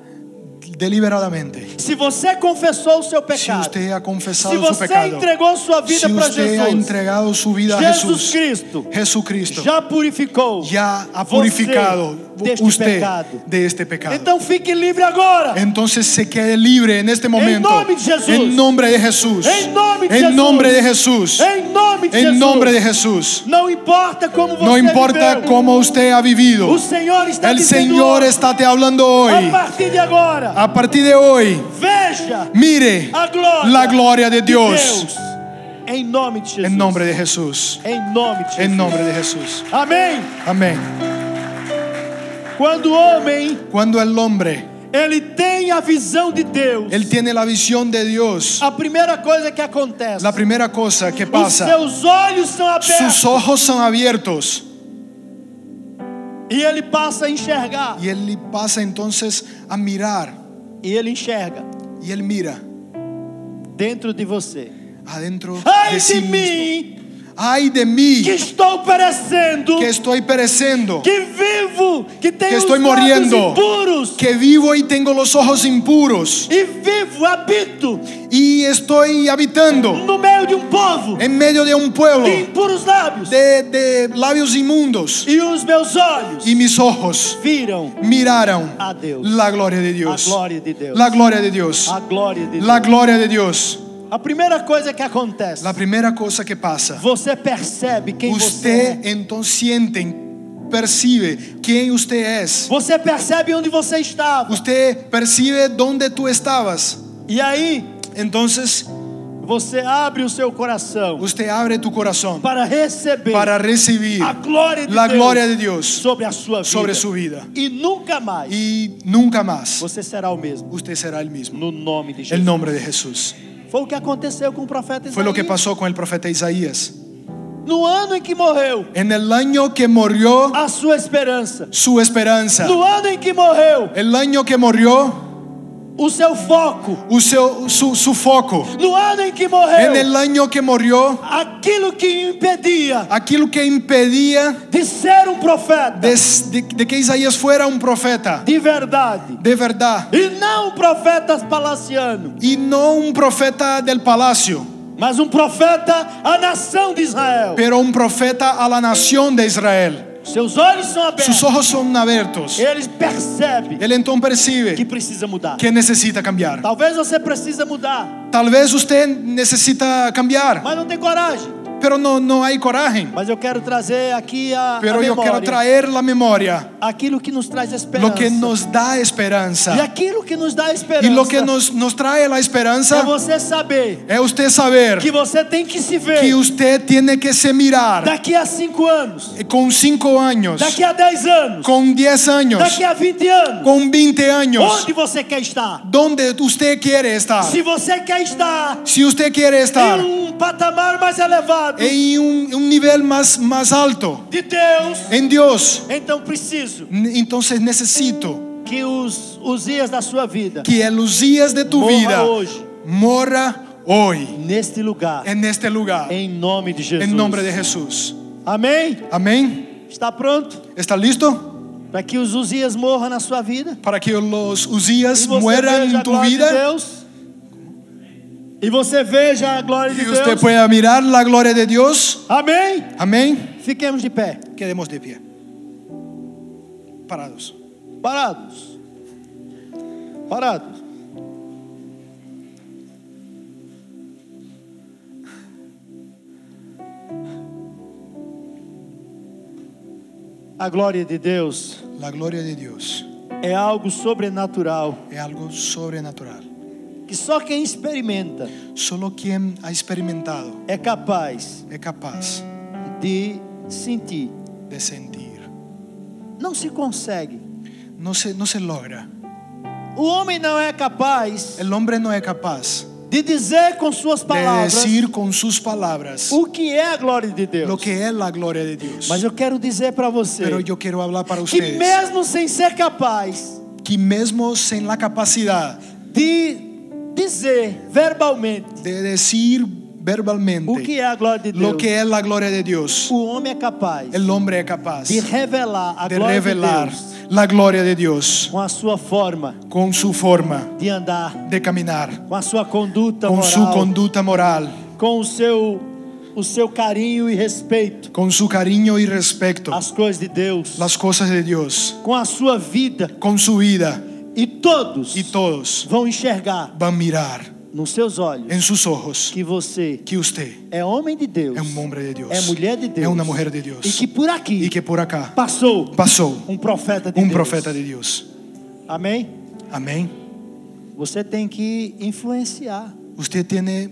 Speaker 3: deliberadamente,
Speaker 2: se você confessou o seu
Speaker 3: si
Speaker 2: pecado,
Speaker 3: usted ha
Speaker 2: se
Speaker 3: confesado su
Speaker 2: você
Speaker 3: pecado,
Speaker 2: entregou sua vida
Speaker 3: si
Speaker 2: para
Speaker 3: usted ha
Speaker 2: Jesus,
Speaker 3: entregado su vida a
Speaker 2: Jesus
Speaker 3: Jesús,
Speaker 2: Cristo
Speaker 3: Jesucristo
Speaker 2: já purificou.
Speaker 3: ya ha
Speaker 2: você
Speaker 3: purificado
Speaker 2: deste
Speaker 3: usted
Speaker 2: pecado.
Speaker 3: de este pecado.
Speaker 2: Então fique livre agora.
Speaker 3: Entonces se quede libre en este momento.
Speaker 2: nome de Jesús.
Speaker 3: En nombre de Jesús.
Speaker 2: Em nome de
Speaker 3: En
Speaker 2: Jesus.
Speaker 3: nombre de Jesús.
Speaker 2: Em nome de
Speaker 3: En
Speaker 2: Jesus.
Speaker 3: nombre de Jesús.
Speaker 2: Não importa como você
Speaker 3: No importa
Speaker 2: viveu,
Speaker 3: cómo usted ha vivido.
Speaker 2: O Senhor está
Speaker 3: El
Speaker 2: dizendo
Speaker 3: Señor
Speaker 2: hoje,
Speaker 3: está te hablando
Speaker 2: a
Speaker 3: hoy.
Speaker 2: partir de agora.
Speaker 3: A partir de hoy,
Speaker 2: Veja
Speaker 3: mire
Speaker 2: a glória,
Speaker 3: la gloria de
Speaker 2: de
Speaker 3: Dios.
Speaker 2: Em nome de Jesus.
Speaker 3: En nombre de Jesús.
Speaker 2: Em nome de Jesus.
Speaker 3: En nombre de Jesús.
Speaker 2: Amém.
Speaker 3: Amén.
Speaker 2: Quando o homem
Speaker 3: Cuando el hombre,
Speaker 2: ele tem a visão de Deus,
Speaker 3: él tiene la visión de Dios,
Speaker 2: a primeira coisa que acontece,
Speaker 3: la primera cosa que
Speaker 2: os
Speaker 3: pasa,
Speaker 2: seus olhos são abertos
Speaker 3: sus ojos son abiertos.
Speaker 2: e ele passa a enxergar.
Speaker 3: Y él pasa entonces a mirar.
Speaker 2: E ele enxerga
Speaker 3: Y él mira
Speaker 2: dentro de você.
Speaker 3: adentro
Speaker 2: Ai
Speaker 3: de sí
Speaker 2: de
Speaker 3: mismo.
Speaker 2: mim
Speaker 3: Ay de mí
Speaker 2: que estou perecendo,
Speaker 3: que estoy pereciendo,
Speaker 2: que vivo, que tenho
Speaker 3: que estou
Speaker 2: os olhos
Speaker 3: morrendo.
Speaker 2: impuros
Speaker 3: que vivo y tengo los ojos impuros
Speaker 2: e vivo, habito
Speaker 3: y estoy habitando
Speaker 2: no meio de um povo
Speaker 3: en medio de un pueblo
Speaker 2: de impuros lábios
Speaker 3: de, de labios inmundos.
Speaker 2: e os meus olhos
Speaker 3: Y mis ojos
Speaker 2: viram
Speaker 3: miraron
Speaker 2: a Deus,
Speaker 3: la gloria de
Speaker 2: a
Speaker 3: Dios.
Speaker 2: glória de Deus,
Speaker 3: La gloria de Dios.
Speaker 2: a glória de
Speaker 3: La
Speaker 2: Deus.
Speaker 3: gloria de Dios.
Speaker 2: A primeira coisa que acontece,
Speaker 3: La primera cosa que pasa.
Speaker 2: você percebe quem você é.
Speaker 3: Usted entonces siente, percibe quién usted es.
Speaker 2: Você percebe onde você estava.
Speaker 3: Usted percibe dónde tú estabas.
Speaker 2: E aí,
Speaker 3: Entonces
Speaker 2: você abre o seu coração
Speaker 3: usted abre tu corazón
Speaker 2: para receber
Speaker 3: para recibir
Speaker 2: a glória de
Speaker 3: la
Speaker 2: Deus
Speaker 3: gloria de Dios
Speaker 2: sobre a sua vida.
Speaker 3: sobre su vida.
Speaker 2: E nunca mais
Speaker 3: Y nunca más
Speaker 2: você será o mesmo.
Speaker 3: usted será el mismo.
Speaker 2: No nome de
Speaker 3: El
Speaker 2: Jesus.
Speaker 3: nombre de Jesús.
Speaker 2: Foi o que aconteceu com o profeta Isaías.
Speaker 3: Fue lo que pasó con el profeta Isaías.
Speaker 2: No ano em que morreu,
Speaker 3: En el año que murió
Speaker 2: a sua esperanza.
Speaker 3: su esperanza.
Speaker 2: No ano em que morreu,
Speaker 3: El año que murió
Speaker 2: o seu foco.
Speaker 3: o seu- su, su foco.
Speaker 2: No ano em que
Speaker 3: En
Speaker 2: morreu,
Speaker 3: el año que murió
Speaker 2: aquilo que o impedia
Speaker 3: aquilo que impedía
Speaker 2: de ser um profeta
Speaker 3: de, de- de que Isaías fuera un profeta
Speaker 2: de verdade.
Speaker 3: de verdad
Speaker 2: E não um profeta palaciano,
Speaker 3: y no un profeta del palacio,
Speaker 2: mas um profeta à nação de Israel.
Speaker 3: pero un profeta a la nación de Israel.
Speaker 2: Seus olhos são abertos.
Speaker 3: Sus ojos son abiertos.
Speaker 2: Eles percebem
Speaker 3: Él entonces
Speaker 2: que
Speaker 3: percibe
Speaker 2: precisa mudar.
Speaker 3: que necesita cambiar.
Speaker 2: Talvez você precisa mudar,
Speaker 3: Tal vez usted necesita cambiar,
Speaker 2: mas não tem coragem.
Speaker 3: pero no, no hay coraje.
Speaker 2: Mas eu quero trazer aqui a, a
Speaker 3: Pero yo quiero
Speaker 2: memória,
Speaker 3: traer la memoria,
Speaker 2: aquilo que nos traz esperança.
Speaker 3: lo que nos da
Speaker 2: E
Speaker 3: esperanza.
Speaker 2: aquilo que nos dá esperança
Speaker 3: Y lo que nos, nos trae la
Speaker 2: é
Speaker 3: esperanza
Speaker 2: você saber
Speaker 3: es usted saber
Speaker 2: que você tem que se ver
Speaker 3: que usted tiene que se mirar
Speaker 2: daqui a 5 anos,
Speaker 3: con cinco años.
Speaker 2: daqui a 10 anos,
Speaker 3: con 10 años,
Speaker 2: daqui a 20 anos,
Speaker 3: con 20 años,
Speaker 2: onde você quer estar.
Speaker 3: donde usted quiere estar.
Speaker 2: Se você quer estar
Speaker 3: Si usted quiere estar
Speaker 2: em um patamar mais elevado
Speaker 3: en un, un nivel más, más alto
Speaker 2: de Deus,
Speaker 3: en Dios,
Speaker 2: então preciso
Speaker 3: n- entonces necesito
Speaker 2: que os, os dias da sua vida
Speaker 3: que en los días de tu
Speaker 2: Morra
Speaker 3: vida
Speaker 2: hoje.
Speaker 3: morra hoy
Speaker 2: neste lugar,
Speaker 3: en este lugar,
Speaker 2: em nome de Jesus.
Speaker 3: en nombre É. de Jesús.
Speaker 2: Amém?
Speaker 3: Amén.
Speaker 2: Está pronto?
Speaker 3: ¿Está listo?
Speaker 2: Para que os Uzias morram na sua vida.
Speaker 3: Para que los Usías
Speaker 2: E você
Speaker 3: mueran
Speaker 2: veja a
Speaker 3: en tu
Speaker 2: glória de
Speaker 3: vida
Speaker 2: Deus. E você veja a glória de
Speaker 3: Y usted
Speaker 2: Deus.
Speaker 3: pueda mirar la gloria de Dios.
Speaker 2: Amém?
Speaker 3: Amén.
Speaker 2: Fiquemos de pé,
Speaker 3: Quedemos de pie. Parados.
Speaker 2: parados. Parados. A glória de Deus
Speaker 3: La gloria de Dios
Speaker 2: é algo sobrenatural
Speaker 3: es algo sobrenatural.
Speaker 2: que só quem experimenta
Speaker 3: Solo quien ha experimentado
Speaker 2: é capaz
Speaker 3: es capaz
Speaker 2: de sentir.
Speaker 3: de sentir.
Speaker 2: Não se consegue.
Speaker 3: No se, no se logra.
Speaker 2: O homem não é capaz
Speaker 3: El hombre no es capaz
Speaker 2: de dizer com suas
Speaker 3: de
Speaker 2: palavras
Speaker 3: decir con sus palabras
Speaker 2: o que é a glória de Deus.
Speaker 3: lo que es la gloria de Dios.
Speaker 2: Mas eu quero dizer para você
Speaker 3: Pero yo quiero hablar para
Speaker 2: que
Speaker 3: ustedes
Speaker 2: mesmo sem ser capaz
Speaker 3: que mesmo sin la capacidad
Speaker 2: de dizer verbalmente
Speaker 3: de decir
Speaker 2: o que
Speaker 3: verbalmente
Speaker 2: é a glória de Deus,
Speaker 3: lo que es la gloria de Dios,
Speaker 2: o homem é capaz
Speaker 3: el hombre es capaz
Speaker 2: de revelar a
Speaker 3: de
Speaker 2: glória
Speaker 3: revelar
Speaker 2: de Deus
Speaker 3: la gloria de Dios
Speaker 2: com a sua forma
Speaker 3: con su forma
Speaker 2: de andar,
Speaker 3: de caminar,
Speaker 2: com a sua conduta
Speaker 3: con
Speaker 2: moral,
Speaker 3: su conduta moral,
Speaker 2: com o seu o seu carinho e respeito
Speaker 3: con su cariño y respeto,
Speaker 2: às coisas de Deus,
Speaker 3: las cosas de Dios,
Speaker 2: com a sua vida
Speaker 3: con su vida
Speaker 2: e todos
Speaker 3: y todos
Speaker 2: vão enxergar
Speaker 3: van a mirar
Speaker 2: nos seus olhos
Speaker 3: en sus ojos
Speaker 2: que você
Speaker 3: que usted
Speaker 2: um é homem de Deus,
Speaker 3: es un hombre de Dios,
Speaker 2: é mulher de Deus,
Speaker 3: es una mujer de
Speaker 2: e
Speaker 3: Dios
Speaker 2: que por aqui
Speaker 3: y que por acá
Speaker 2: passou
Speaker 3: pasó
Speaker 2: um profeta de
Speaker 3: un
Speaker 2: Deus.
Speaker 3: profeta de Dios.
Speaker 2: Amém?
Speaker 3: Amén.
Speaker 2: Você tem que influenciar.
Speaker 3: Usted tiene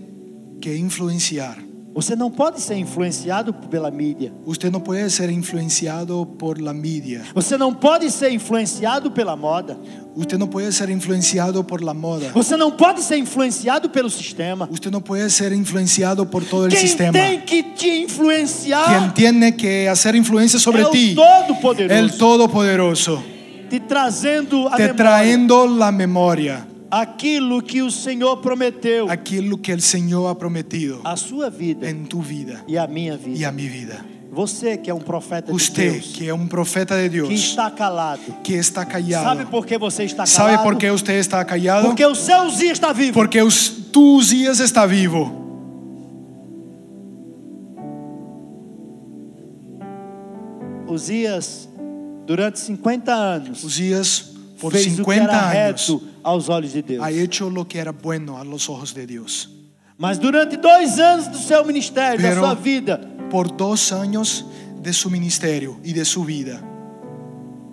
Speaker 3: que influenciar.
Speaker 2: Você não pode ser influenciado pela mídia.
Speaker 3: Usted no puede ser influenciado por la media.
Speaker 2: Você não pode ser influenciado pela moda.
Speaker 3: Usted no puede ser influenciado por la moda.
Speaker 2: Você não pode ser influenciado pelo sistema.
Speaker 3: Usted no puede ser influenciado por todo el
Speaker 2: Quem
Speaker 3: sistema.
Speaker 2: tem que te
Speaker 3: Quien
Speaker 2: influenciar
Speaker 3: tiene que hacer influencia sobre
Speaker 2: é o
Speaker 3: ti,
Speaker 2: Todo-Poderoso,
Speaker 3: el Todopoderoso,
Speaker 2: te trazendo a
Speaker 3: te
Speaker 2: memória
Speaker 3: trayendo la memoria,
Speaker 2: aquilo que o Senhor prometeu,
Speaker 3: aquello que el Señor ha prometido
Speaker 2: a sua vida
Speaker 3: en tu vida
Speaker 2: e a minha vida.
Speaker 3: y a mi vida.
Speaker 2: Você que é um profeta de
Speaker 3: Usted,
Speaker 2: Deus,
Speaker 3: que es un profeta de
Speaker 2: que
Speaker 3: Dios,
Speaker 2: está calado,
Speaker 3: que está
Speaker 2: sabe
Speaker 3: callado,
Speaker 2: por que você está calado?
Speaker 3: ¿sabe por qué usted está callado?
Speaker 2: Porque o seu Uzias está vivo.
Speaker 3: Porque us- tu Usías está vivo.
Speaker 2: Uzias, durante 50 anos,
Speaker 3: Usías, por
Speaker 2: fez o que era
Speaker 3: 50
Speaker 2: reto
Speaker 3: años,
Speaker 2: aos olhos de Deus.
Speaker 3: ha hecho lo que era bueno a los ojos de Dios.
Speaker 2: Mas durante dois anos do seu ministério, da
Speaker 3: Pero-
Speaker 2: sua vida,
Speaker 3: Por dos años de su ministerio y de su vida,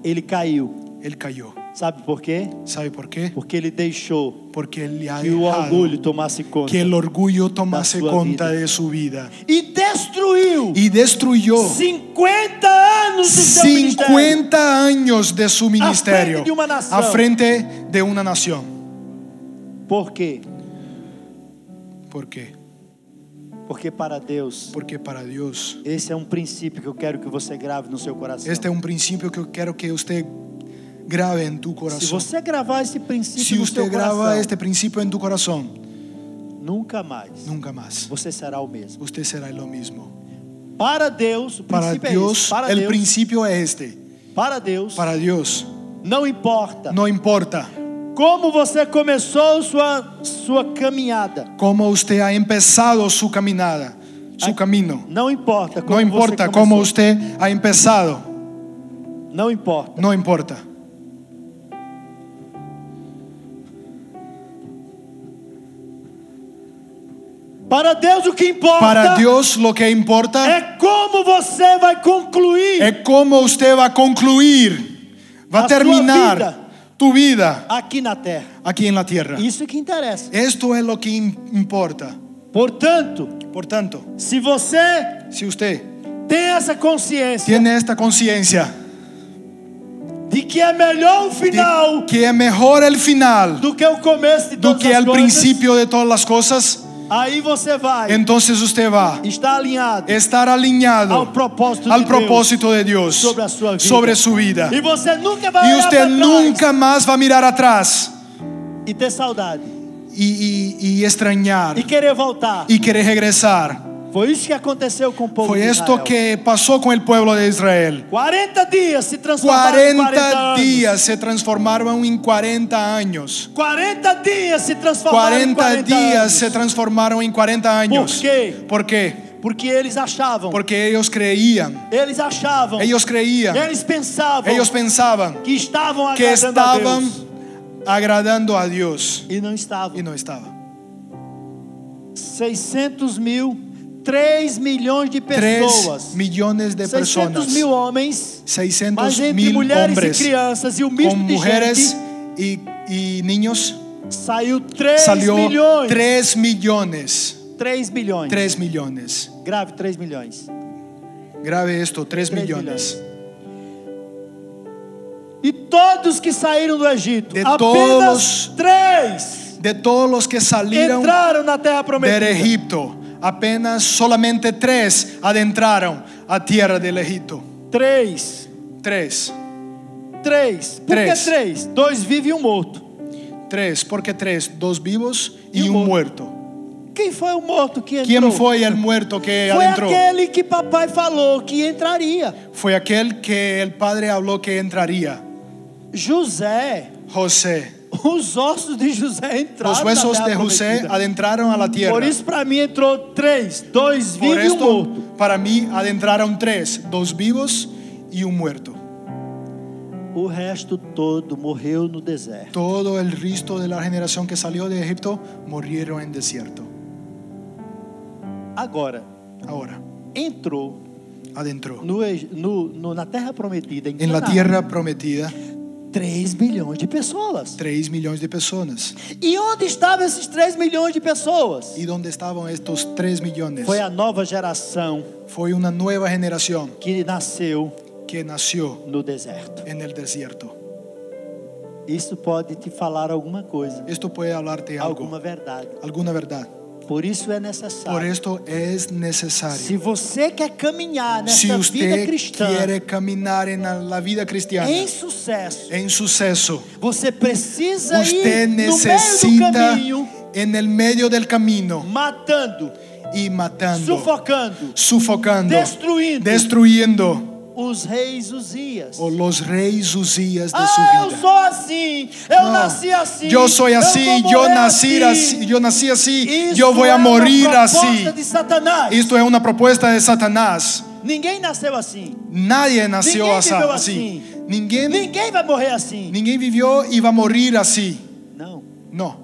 Speaker 2: ele caiu.
Speaker 3: él cayó.
Speaker 2: Sabe por quê?
Speaker 3: ¿Sabe por qué?
Speaker 2: Porque ele deixou
Speaker 3: Porque él le ha
Speaker 2: que o
Speaker 3: dejado
Speaker 2: orgulho tomasse conta.
Speaker 3: que el orgullo tomase
Speaker 2: sua
Speaker 3: cuenta
Speaker 2: vida.
Speaker 3: de su vida
Speaker 2: E destruiu
Speaker 3: y destruyó
Speaker 2: 50 anos do seu ministério.
Speaker 3: 50 años de su ministerio
Speaker 2: frente de una nación.
Speaker 3: a frente de una nación.
Speaker 2: Por quê?
Speaker 3: ¿Por qué?
Speaker 2: Porque para Deus,
Speaker 3: Porque para Dios,
Speaker 2: esse é um princípio que eu quero que você grave no seu coração.
Speaker 3: este é um es un principio que quiero que usted grabe en tu
Speaker 2: Se
Speaker 3: corazón.
Speaker 2: você gravar esse princípio
Speaker 3: Si
Speaker 2: no seu
Speaker 3: usted graba
Speaker 2: coração,
Speaker 3: este principio en tu corazón,
Speaker 2: nunca mais
Speaker 3: nunca más
Speaker 2: você será o mesmo.
Speaker 3: usted será lo mismo.
Speaker 2: Para Deus, o
Speaker 3: Para
Speaker 2: princípio é esse.
Speaker 3: Dios,
Speaker 2: Para
Speaker 3: el
Speaker 2: Deus,
Speaker 3: principio es este.
Speaker 2: para Deus,
Speaker 3: Para Dios,
Speaker 2: não importa
Speaker 3: no importa
Speaker 2: como você começou sua sua caminhada.
Speaker 3: cómo usted ha empezado su caminada, su
Speaker 2: Ay.
Speaker 3: camino.
Speaker 2: Não importa como
Speaker 3: No importa
Speaker 2: você
Speaker 3: cómo
Speaker 2: começou.
Speaker 3: usted ha empezado,
Speaker 2: Não importa.
Speaker 3: no importa.
Speaker 2: Para Deus o que importa
Speaker 3: Para Dios lo que importa
Speaker 2: é como você vai concluir
Speaker 3: es cómo usted va a concluir, va
Speaker 2: A
Speaker 3: a
Speaker 2: sua
Speaker 3: terminar
Speaker 2: vida.
Speaker 3: tu vida
Speaker 2: aqui na terra.
Speaker 3: aquí en la tierra.
Speaker 2: Isso que interessa.
Speaker 3: Esto es lo que im- importa.
Speaker 2: Portanto,
Speaker 3: Por tanto,
Speaker 2: se você
Speaker 3: si usted
Speaker 2: tem essa consciência
Speaker 3: tiene esta conciencia
Speaker 2: de que é melhor o
Speaker 3: de
Speaker 2: final
Speaker 3: que es mejor el final
Speaker 2: do que o começo de
Speaker 3: do
Speaker 2: todas
Speaker 3: que é
Speaker 2: as
Speaker 3: el
Speaker 2: coisas,
Speaker 3: principio de todas las cosas,
Speaker 2: aí você vai
Speaker 3: entonces usted va
Speaker 2: estar alinhado
Speaker 3: a estar alineado
Speaker 2: ao propósito
Speaker 3: al
Speaker 2: de Deus.
Speaker 3: É- propósito de Dios
Speaker 2: sobre a sua vida.
Speaker 3: sobre su vida.
Speaker 2: E você nunca vai
Speaker 3: Y
Speaker 2: olhar
Speaker 3: usted
Speaker 2: pra trás
Speaker 3: nunca más va a mirar atrás
Speaker 2: e ter saudade
Speaker 3: y, y- y extrañar
Speaker 2: e querer voltar.
Speaker 3: y querer regresar.
Speaker 2: Foi isso que aconteceu com o povo
Speaker 3: Foi
Speaker 2: de
Speaker 3: esto
Speaker 2: Israel.
Speaker 3: que pasó con el pueblo de Israel.
Speaker 2: 40 dias se transformaram em 40,
Speaker 3: 40
Speaker 2: anos.
Speaker 3: días se transformaron en 40 años.
Speaker 2: 40 dias se transformaram em
Speaker 3: 40
Speaker 2: 40
Speaker 3: días
Speaker 2: anos.
Speaker 3: se transformaron en 40 años.
Speaker 2: ¿Por qué?
Speaker 3: ¿Por qué?
Speaker 2: Porque eles achavam,
Speaker 3: Porque ellos creían.
Speaker 2: eles achavam,
Speaker 3: Ellos creían.
Speaker 2: eles pensavam
Speaker 3: Ellos pensaban
Speaker 2: que estavam
Speaker 3: que
Speaker 2: agradando a
Speaker 3: estaban
Speaker 2: Deus
Speaker 3: agradando a Dios
Speaker 2: e não estavam.
Speaker 3: y no estaban.
Speaker 2: 600 mil, 3 milhões de
Speaker 3: 3
Speaker 2: pessoas,
Speaker 3: millones de
Speaker 2: 600
Speaker 3: personas.
Speaker 2: mil homens, mas
Speaker 3: 600
Speaker 2: entre
Speaker 3: mil
Speaker 2: mulheres
Speaker 3: hombres
Speaker 2: e crianças e o
Speaker 3: con
Speaker 2: misto de
Speaker 3: mujeres
Speaker 2: gente
Speaker 3: y, y niños
Speaker 2: saiu 3
Speaker 3: salió
Speaker 2: milhões.
Speaker 3: 3 millones.
Speaker 2: 3 milhões.
Speaker 3: 3 millones.
Speaker 2: Grave 3 milhões.
Speaker 3: Grabe esto, 3
Speaker 2: Tres
Speaker 3: millones.
Speaker 2: E todos que saíram do Egito,
Speaker 3: De
Speaker 2: apenas
Speaker 3: todos-
Speaker 2: três
Speaker 3: De todos los que salieron
Speaker 2: entraram na terra
Speaker 3: del
Speaker 2: prometida.
Speaker 3: Egipto, apenas solamente 3 adentraron a tierra del Egipto.
Speaker 2: Três.
Speaker 3: 3.
Speaker 2: Três. Por
Speaker 3: Três.
Speaker 2: que três? Dois vivem e um morto.
Speaker 3: 3, porque 3, dos vivos y,
Speaker 2: Y un
Speaker 3: un
Speaker 2: mu-
Speaker 3: muerto.
Speaker 2: Quem foi o morto que entrou?
Speaker 3: ¿Quién fue el muerto que
Speaker 2: Foi
Speaker 3: adentró?
Speaker 2: aquele que papai falou que entraria.
Speaker 3: Fue aquel que el padre habló que entraría.
Speaker 2: José.
Speaker 3: José.
Speaker 2: Os ossos de José entraram
Speaker 3: Los
Speaker 2: na
Speaker 3: huesos
Speaker 2: terra
Speaker 3: de José né?
Speaker 2: prometida.
Speaker 3: adentraram a la
Speaker 2: Por
Speaker 3: tierra.
Speaker 2: isso para mim entrou três. Dois
Speaker 3: Por
Speaker 2: vivem e um morto.
Speaker 3: esto, para mí, adentraron tres, dos vivos y un muerto.
Speaker 2: O resto todo morreu no deserto.
Speaker 3: Todo el resto de la generación que salió de Egipto murieron en desierto.
Speaker 2: Agora,
Speaker 3: Ahora,
Speaker 2: entrou
Speaker 3: adentró.
Speaker 2: no, Eg- no- no- na terra prometida em
Speaker 3: En la
Speaker 2: Canaã,
Speaker 3: tierra prometida,
Speaker 2: 3 milhões de pessoas.
Speaker 3: tres millones de personas.
Speaker 2: E onde estavam esses 3 milhões de pessoas?
Speaker 3: ¿Y dónde estaban estos tres millones?
Speaker 2: Foi a nova geração
Speaker 3: Fue una nueva generación
Speaker 2: que nasceu
Speaker 3: que nació
Speaker 2: no deserto.
Speaker 3: en el desierto.
Speaker 2: Isso pode te falar alguma coisa,
Speaker 3: Esto puede hablarte
Speaker 2: alguma
Speaker 3: algo,
Speaker 2: verdade.
Speaker 3: alguna verdad.
Speaker 2: Por isso é
Speaker 3: Por
Speaker 2: necessário.
Speaker 3: esto es
Speaker 2: Se
Speaker 3: necesario.
Speaker 2: você quer caminhar
Speaker 3: Si
Speaker 2: nessa vida
Speaker 3: usted
Speaker 2: cristã
Speaker 3: quiere caminar en la vida cristiana,
Speaker 2: em sucesso,
Speaker 3: en suceso,
Speaker 2: você precisa
Speaker 3: usted
Speaker 2: ir no meio do
Speaker 3: necesita
Speaker 2: caminho
Speaker 3: en el medio del camino
Speaker 2: matando,
Speaker 3: y matando,
Speaker 2: sufocando
Speaker 3: sufocando,
Speaker 2: Destruyendo.
Speaker 3: destruyendo
Speaker 2: os reis Uzias.
Speaker 3: o los reyes Usías de su
Speaker 2: Ah, eu
Speaker 3: vida.
Speaker 2: sou assim, eu
Speaker 3: No,
Speaker 2: nasci assim.
Speaker 3: yo soy así,
Speaker 2: vou
Speaker 3: yo
Speaker 2: morrer assim.
Speaker 3: nací así, yo nací así, yo voy a
Speaker 2: é uma
Speaker 3: assim. morir assim.
Speaker 2: proposta
Speaker 3: así.
Speaker 2: De Satanás.
Speaker 3: Esto es una propuesta de Satanás.
Speaker 2: Ninguém nasceu assim.
Speaker 3: Nadie nació
Speaker 2: Ninguém
Speaker 3: así.
Speaker 2: vivió
Speaker 3: así.
Speaker 2: así.
Speaker 3: Ninguém,
Speaker 2: Ninguém vai morrer assim.
Speaker 3: ninguém vivió y va a morir así.
Speaker 2: Não,
Speaker 3: No,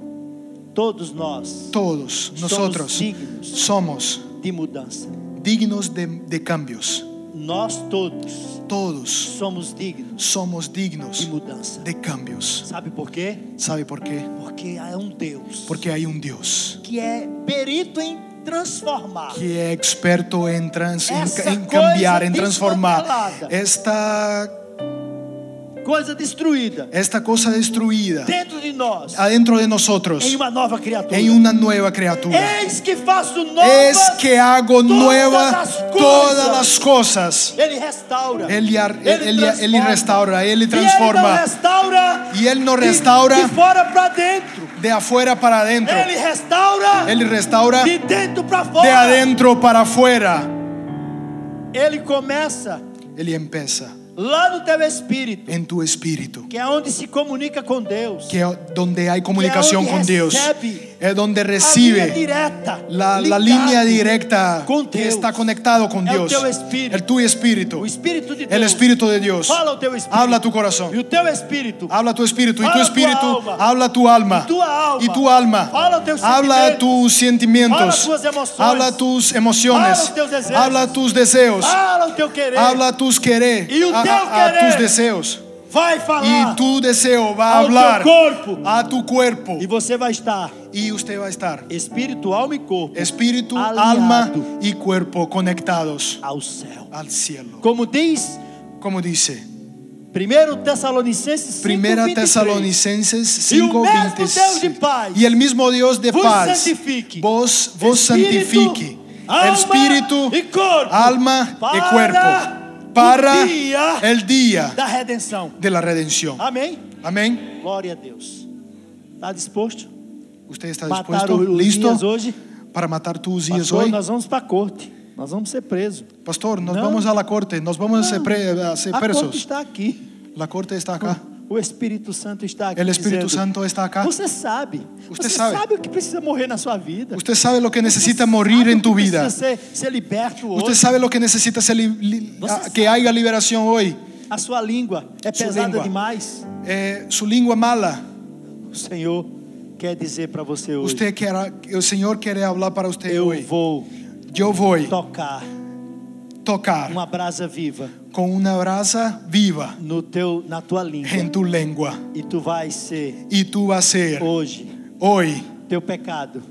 Speaker 2: todos nós
Speaker 3: todos nosotros
Speaker 2: somos dignos
Speaker 3: somos
Speaker 2: de mudança.
Speaker 3: dignos de, de cambios.
Speaker 2: Nós todos
Speaker 3: Todos
Speaker 2: somos dignos
Speaker 3: somos
Speaker 2: de
Speaker 3: dignos
Speaker 2: mudança.
Speaker 3: de cambios.
Speaker 2: Sabe por quê?
Speaker 3: ¿Sabe por qué?
Speaker 2: Porque há um Deus
Speaker 3: Porque hay un Dios
Speaker 2: que é perito em transformar.
Speaker 3: que es experto en, trans- en
Speaker 2: Esa
Speaker 3: ca- en
Speaker 2: cosa
Speaker 3: cambiar, en transformar
Speaker 2: descontrolada.
Speaker 3: esta,
Speaker 2: Coisa destruída
Speaker 3: esta cosa destruida
Speaker 2: dentro de nós
Speaker 3: adentro de nosotros
Speaker 2: em uma nova criatura.
Speaker 3: en una nueva criatura.
Speaker 2: Eis que faço novas.
Speaker 3: Es um que hago
Speaker 2: todas
Speaker 3: nueva
Speaker 2: las
Speaker 3: todas
Speaker 2: cosas.
Speaker 3: las cosas.
Speaker 2: Ele restaura.
Speaker 3: Él, ya- él, él ya- él
Speaker 2: transforma.
Speaker 3: restaura, Él
Speaker 2: E ele não
Speaker 3: transforma
Speaker 2: restaura.
Speaker 3: Y Él no restaura.
Speaker 2: De, de fora para dentro.
Speaker 3: de afuera para adentro.
Speaker 2: Ele restaura.
Speaker 3: Él restaura
Speaker 2: de dentro para fora.
Speaker 3: de adentro para afuera.
Speaker 2: Ele começa
Speaker 3: Él empieza
Speaker 2: lá no teu espírito,
Speaker 3: en tu espíritu,
Speaker 2: que é onde se comunica com Deus.
Speaker 3: que donde hay comunicación
Speaker 2: Que
Speaker 3: con
Speaker 2: aonde
Speaker 3: Dios,
Speaker 2: recebe
Speaker 3: es donde
Speaker 2: A linha
Speaker 3: recibe
Speaker 2: direta.
Speaker 3: la, la
Speaker 2: ligado
Speaker 3: línea directa
Speaker 2: com
Speaker 3: que
Speaker 2: Deus.
Speaker 3: está conectado con
Speaker 2: É o
Speaker 3: Dios,
Speaker 2: teu espírito.
Speaker 3: el tu espíritu,
Speaker 2: O espírito de Deus.
Speaker 3: el espíritu de Dios.
Speaker 2: Fala o teu espírito.
Speaker 3: Habla tu
Speaker 2: E
Speaker 3: corazón,
Speaker 2: o teu espírito.
Speaker 3: habla tu espíritu, y tu
Speaker 2: Habla tu
Speaker 3: espíritu,
Speaker 2: alma.
Speaker 3: habla tu alma,
Speaker 2: Y tu alma.
Speaker 3: y tu alma.
Speaker 2: Habla teus
Speaker 3: habla tus sentimientos,
Speaker 2: Habla tus emociones.
Speaker 3: habla tus emociones,
Speaker 2: Habla teus
Speaker 3: habla tus deseos,
Speaker 2: deseos. Fala o teu querer.
Speaker 3: habla tus querer,
Speaker 2: Y un
Speaker 3: a-
Speaker 2: teu
Speaker 3: a- a tus
Speaker 2: querer.
Speaker 3: deseos.
Speaker 2: Vai falar.
Speaker 3: Y tu deseo va a
Speaker 2: Ao teu
Speaker 3: hablar
Speaker 2: corpo.
Speaker 3: a tu cuerpo.
Speaker 2: E você vai estar
Speaker 3: Y usted va a estar
Speaker 2: espírito, alma e corpo
Speaker 3: espíritu,
Speaker 2: aliado
Speaker 3: alma y cuerpo conectados
Speaker 2: ao céu.
Speaker 3: al cielo.
Speaker 2: Como diz
Speaker 3: Como dice
Speaker 2: 1 Tessalonicenses 5,
Speaker 3: Primera
Speaker 2: 23,
Speaker 3: Tesalonicenses
Speaker 2: Y un mismo
Speaker 3: 5,
Speaker 2: Dios de paz
Speaker 3: Y el mismo Dios de
Speaker 2: vos
Speaker 3: paz
Speaker 2: santifique.
Speaker 3: vos, vos
Speaker 2: Espíritu,
Speaker 3: santifique.
Speaker 2: alma
Speaker 3: el espíritu,
Speaker 2: y cuerpo.
Speaker 3: alma
Speaker 2: Para
Speaker 3: y cuerpo. Para
Speaker 2: un día
Speaker 3: el día
Speaker 2: da redenção.
Speaker 3: de la redención.
Speaker 2: Amém?
Speaker 3: Amén.
Speaker 2: Glória a Deus. Está disposto?
Speaker 3: ¿Usted está
Speaker 2: Mataram
Speaker 3: dispuesto?
Speaker 2: o
Speaker 3: ¿Listo?
Speaker 2: Urias hoje.
Speaker 3: para matar tu Usías
Speaker 2: Pastor,
Speaker 3: hoy?
Speaker 2: nós vamos para a corte. Nós vamos ser presos.
Speaker 3: Pastor, nós
Speaker 2: Não.
Speaker 3: vamos a la corte, nós vamos a
Speaker 2: Ah.
Speaker 3: ser, pre- a ser
Speaker 2: A corte
Speaker 3: presos.
Speaker 2: está aqui.
Speaker 3: La corte está acá.
Speaker 2: O Espírito Santo está aqui.
Speaker 3: El Espíritu
Speaker 2: dizendo,
Speaker 3: Santo está acá.
Speaker 2: Você sabe.
Speaker 3: Você
Speaker 2: Você,
Speaker 3: sabe.
Speaker 2: sabe. o que precisa morrer na sua vida.
Speaker 3: Usted sabe lo que necesita
Speaker 2: Você
Speaker 3: morir
Speaker 2: sabe
Speaker 3: en
Speaker 2: o que
Speaker 3: tu vida.
Speaker 2: Precisa ser, ser liberto
Speaker 3: Usted
Speaker 2: hoje.
Speaker 3: sabe lo que necesita ser li- li-
Speaker 2: Você
Speaker 3: a-
Speaker 2: sabe.
Speaker 3: que haya liberación hoy.
Speaker 2: A sua língua é
Speaker 3: Sua
Speaker 2: pesada
Speaker 3: língua.
Speaker 2: demais.
Speaker 3: Eh, su lengua mala.
Speaker 2: O Senhor quer dizer para você hoje.
Speaker 3: Usted quiera- el Señor quiere hablar para usted
Speaker 2: eu
Speaker 3: hoy.
Speaker 2: vou
Speaker 3: Yo voy a
Speaker 2: tocar
Speaker 3: tocar
Speaker 2: uma brasa viva
Speaker 3: con una brasa viva
Speaker 2: no teu, na tua língua.
Speaker 3: en tu lengua.
Speaker 2: E tu vais ser
Speaker 3: Y tú vas a ser
Speaker 2: hoje.
Speaker 3: hoy
Speaker 2: Teu pecado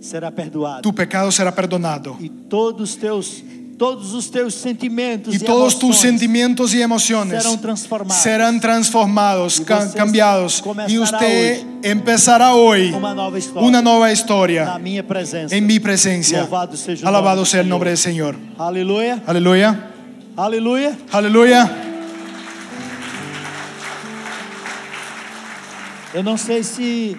Speaker 2: será perdoado.
Speaker 3: tu pecado será perdonado.
Speaker 2: E todos os teus todos os teus sentimentos
Speaker 3: Y
Speaker 2: e
Speaker 3: todos tus
Speaker 2: emoções
Speaker 3: sentimientos y emociones
Speaker 2: serão transformados.
Speaker 3: serán transformados,
Speaker 2: Y
Speaker 3: ca-
Speaker 2: você
Speaker 3: cambiados. Y
Speaker 2: começará
Speaker 3: usted empezará hoy
Speaker 2: uma nova história
Speaker 3: una nueva
Speaker 2: na
Speaker 3: historia
Speaker 2: minha presença.
Speaker 3: en mi presencia.
Speaker 2: Louvado seja o
Speaker 3: Alabado
Speaker 2: nome do
Speaker 3: sea el
Speaker 2: Senhor.
Speaker 3: nombre del Señor.
Speaker 2: Aleluia.
Speaker 3: Aleluya.
Speaker 2: Aleluia.
Speaker 3: Aleluya.
Speaker 2: Eu não sei se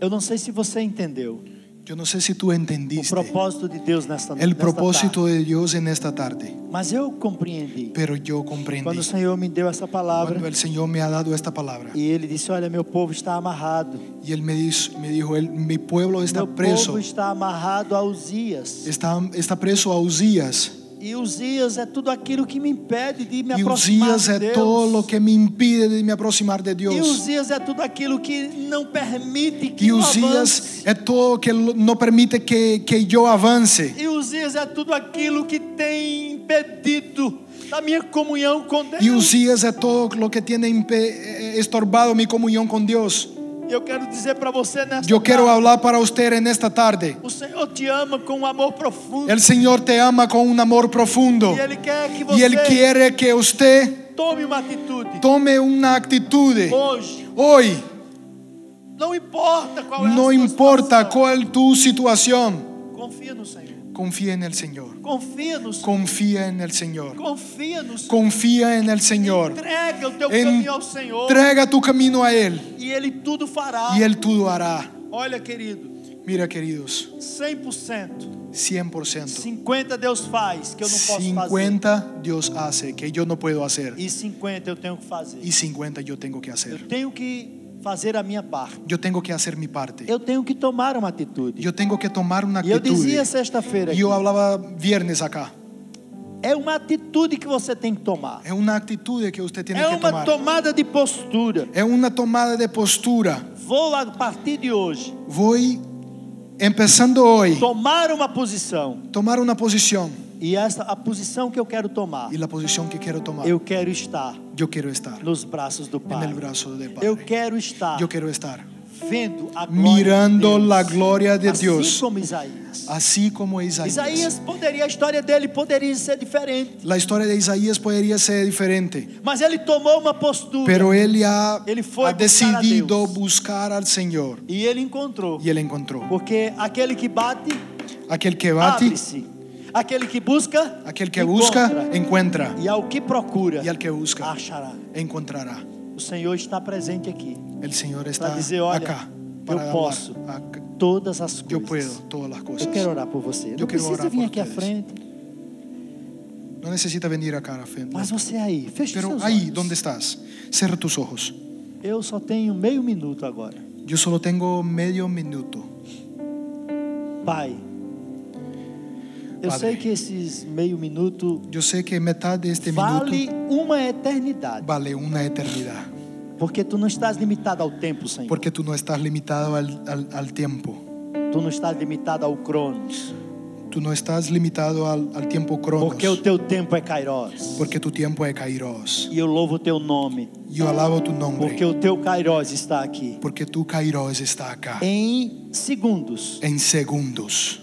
Speaker 2: eu não sei se você entendeu
Speaker 3: Yo no sé si tú
Speaker 2: o
Speaker 3: entendiste
Speaker 2: propósito de Deus nesta
Speaker 3: el
Speaker 2: nesta
Speaker 3: propósito de Dios en esta tarde,
Speaker 2: tarde. Mas eu compreendi.
Speaker 3: pero yo
Speaker 2: Quando o
Speaker 3: comprendí.
Speaker 2: Senhor me deu essa palavra
Speaker 3: Cuando el Señor me ha dado esta palabra
Speaker 2: e ele disse: "Olha, meu povo está amarrado.
Speaker 3: y Él me dijo, me dijo él, mi pueblo está
Speaker 2: meu
Speaker 3: preso,
Speaker 2: povo está amarrado a Uzias.
Speaker 3: está, está preso a Usías.
Speaker 2: E Uzias é tudo aquilo que me impede de me
Speaker 3: Y
Speaker 2: aproximar
Speaker 3: Usías
Speaker 2: de
Speaker 3: es
Speaker 2: Deus.
Speaker 3: todo lo que me impide de me aproximar de
Speaker 2: E
Speaker 3: Dios.
Speaker 2: Uzias é tudo aquilo que não permite que
Speaker 3: Y
Speaker 2: eu
Speaker 3: Usías
Speaker 2: avance.
Speaker 3: es todo que lo- no permite que, que yo avance.
Speaker 2: E Uzias é tudo aquilo que tem impedido da minha comunhão com Deus.
Speaker 3: Y Usías es todo lo que tiene impe- eh, estorbado mi comunión con Dios.
Speaker 2: Eu quero dizer para você nesta
Speaker 3: Yo quiero
Speaker 2: tarde,
Speaker 3: hablar para usted en esta tarde.
Speaker 2: o Senhor te ama com um amor profundo.
Speaker 3: El Señor te ama con un amor profundo
Speaker 2: E Ele quer que
Speaker 3: y
Speaker 2: você
Speaker 3: Él quiere que usted
Speaker 2: tome uma atitude
Speaker 3: tome una actitud
Speaker 2: hoje.
Speaker 3: hoy.
Speaker 2: Não importa é- qual é a
Speaker 3: No
Speaker 2: sua
Speaker 3: importa
Speaker 2: situação.
Speaker 3: cuál tu situación,
Speaker 2: Confia no Senhor.
Speaker 3: confía en el Señor.
Speaker 2: Confia no Senhor.
Speaker 3: Confía en el Señor.
Speaker 2: Confia no Senhor.
Speaker 3: Confía en el Señor.
Speaker 2: Entrega o teu caminho ao Senhor
Speaker 3: Entrega tu camino a Él
Speaker 2: e Ele tudo fará.
Speaker 3: y Él todo hará.
Speaker 2: Olha, querido,
Speaker 3: Mira, queridos,
Speaker 2: 100%,
Speaker 3: 100%.
Speaker 2: 50 Deus faz que eu não posso fazer
Speaker 3: 50 Dios hace que yo no puedo hacer
Speaker 2: e 50 eu tenho que fazer.
Speaker 3: y 50 yo tengo que hacer.
Speaker 2: Eu tenho que fazer a minha parte.
Speaker 3: Yo tengo que hacer mi parte.
Speaker 2: Eu tenho que tomar uma atitude.
Speaker 3: Yo tengo que tomar una
Speaker 2: e eu
Speaker 3: actitud.
Speaker 2: dizia sexta-feira,
Speaker 3: Y
Speaker 2: aqui,
Speaker 3: Yo hablaba viernes acá.
Speaker 2: é uma atitude que você tem que tomar.
Speaker 3: Es una actitud que usted tiene
Speaker 2: É
Speaker 3: que tomar.
Speaker 2: uma tomada de postura.
Speaker 3: es una tomada de postura.
Speaker 2: Vou a partir de hoje
Speaker 3: Voy empezando hoy
Speaker 2: tomar uma posição
Speaker 3: tomar una posición
Speaker 2: e essa a posição que eu quero tomar,
Speaker 3: y la posición que quiero tomar.
Speaker 2: eu quero estar
Speaker 3: Yo quiero estar
Speaker 2: nos braços do
Speaker 3: en
Speaker 2: Pai.
Speaker 3: el brazo del
Speaker 2: Eu
Speaker 3: Padre.
Speaker 2: quero estar
Speaker 3: Yo quiero estar
Speaker 2: vendo a glória
Speaker 3: mirando
Speaker 2: de Deus,
Speaker 3: la gloria de
Speaker 2: Assim
Speaker 3: Dios,
Speaker 2: como Isaías.
Speaker 3: así como Isaías.
Speaker 2: Isaías poderia, a história dele poderia ser diferente,
Speaker 3: La historia de Isaías podría ser diferente,
Speaker 2: mas ele tomou uma postura
Speaker 3: pero él ya
Speaker 2: Ele foi
Speaker 3: ha
Speaker 2: buscar a
Speaker 3: decidido
Speaker 2: Deus.
Speaker 3: buscar al Señor
Speaker 2: e ele encontrou.
Speaker 3: y él encontró.
Speaker 2: Porque aquele que bate,
Speaker 3: Aquel que bate,
Speaker 2: abre-se. Aquele que busca,
Speaker 3: aquel que
Speaker 2: encontra.
Speaker 3: busca, encuentra.
Speaker 2: E ao que procura,
Speaker 3: Y al que busca,
Speaker 2: achará.
Speaker 3: encontrará.
Speaker 2: O Senhor está presente aqui
Speaker 3: El Señor
Speaker 2: para
Speaker 3: está
Speaker 2: dizer, olha,
Speaker 3: acá
Speaker 2: eu
Speaker 3: para hablar.
Speaker 2: posso
Speaker 3: Acá-
Speaker 2: todas as coisas.
Speaker 3: Yo puedo todas las cosas.
Speaker 2: Eu quero orar por você.
Speaker 3: Eu
Speaker 2: Não
Speaker 3: quero
Speaker 2: precisa
Speaker 3: orar
Speaker 2: vir
Speaker 3: por
Speaker 2: aqui à
Speaker 3: vocês.
Speaker 2: frente,
Speaker 3: No necesita venir acá, Rafael.
Speaker 2: mas você aí, fecha os
Speaker 3: Pero
Speaker 2: seus
Speaker 3: ahí
Speaker 2: olhos.
Speaker 3: donde estás, cierra tus ojos.
Speaker 2: Eu só tenho meio minuto agora.
Speaker 3: Yo solo tengo medio minuto.
Speaker 2: Pai, eu
Speaker 3: Padre.
Speaker 2: sei que esses meio minuto
Speaker 3: Yo sé que mitad de este
Speaker 2: vale
Speaker 3: minuto
Speaker 2: uma eternidade,
Speaker 3: vale una eternidad,
Speaker 2: porque tu não estás limitado ao tempo, Senhor.
Speaker 3: porque tú no estás limitado al, al- al tiempo.
Speaker 2: Tu não estás limitado ao cronos,
Speaker 3: Tú no estás limitado al, al tiempo cronos,
Speaker 2: porque o teu tempo é kairos.
Speaker 3: porque tu tiempo es kairos.
Speaker 2: E eu louvo o teu nome,
Speaker 3: Yo alabo tu nombre,
Speaker 2: porque o teu kairos está aqui.
Speaker 3: porque tu kairos está acá.
Speaker 2: Em segundos,
Speaker 3: En segundos,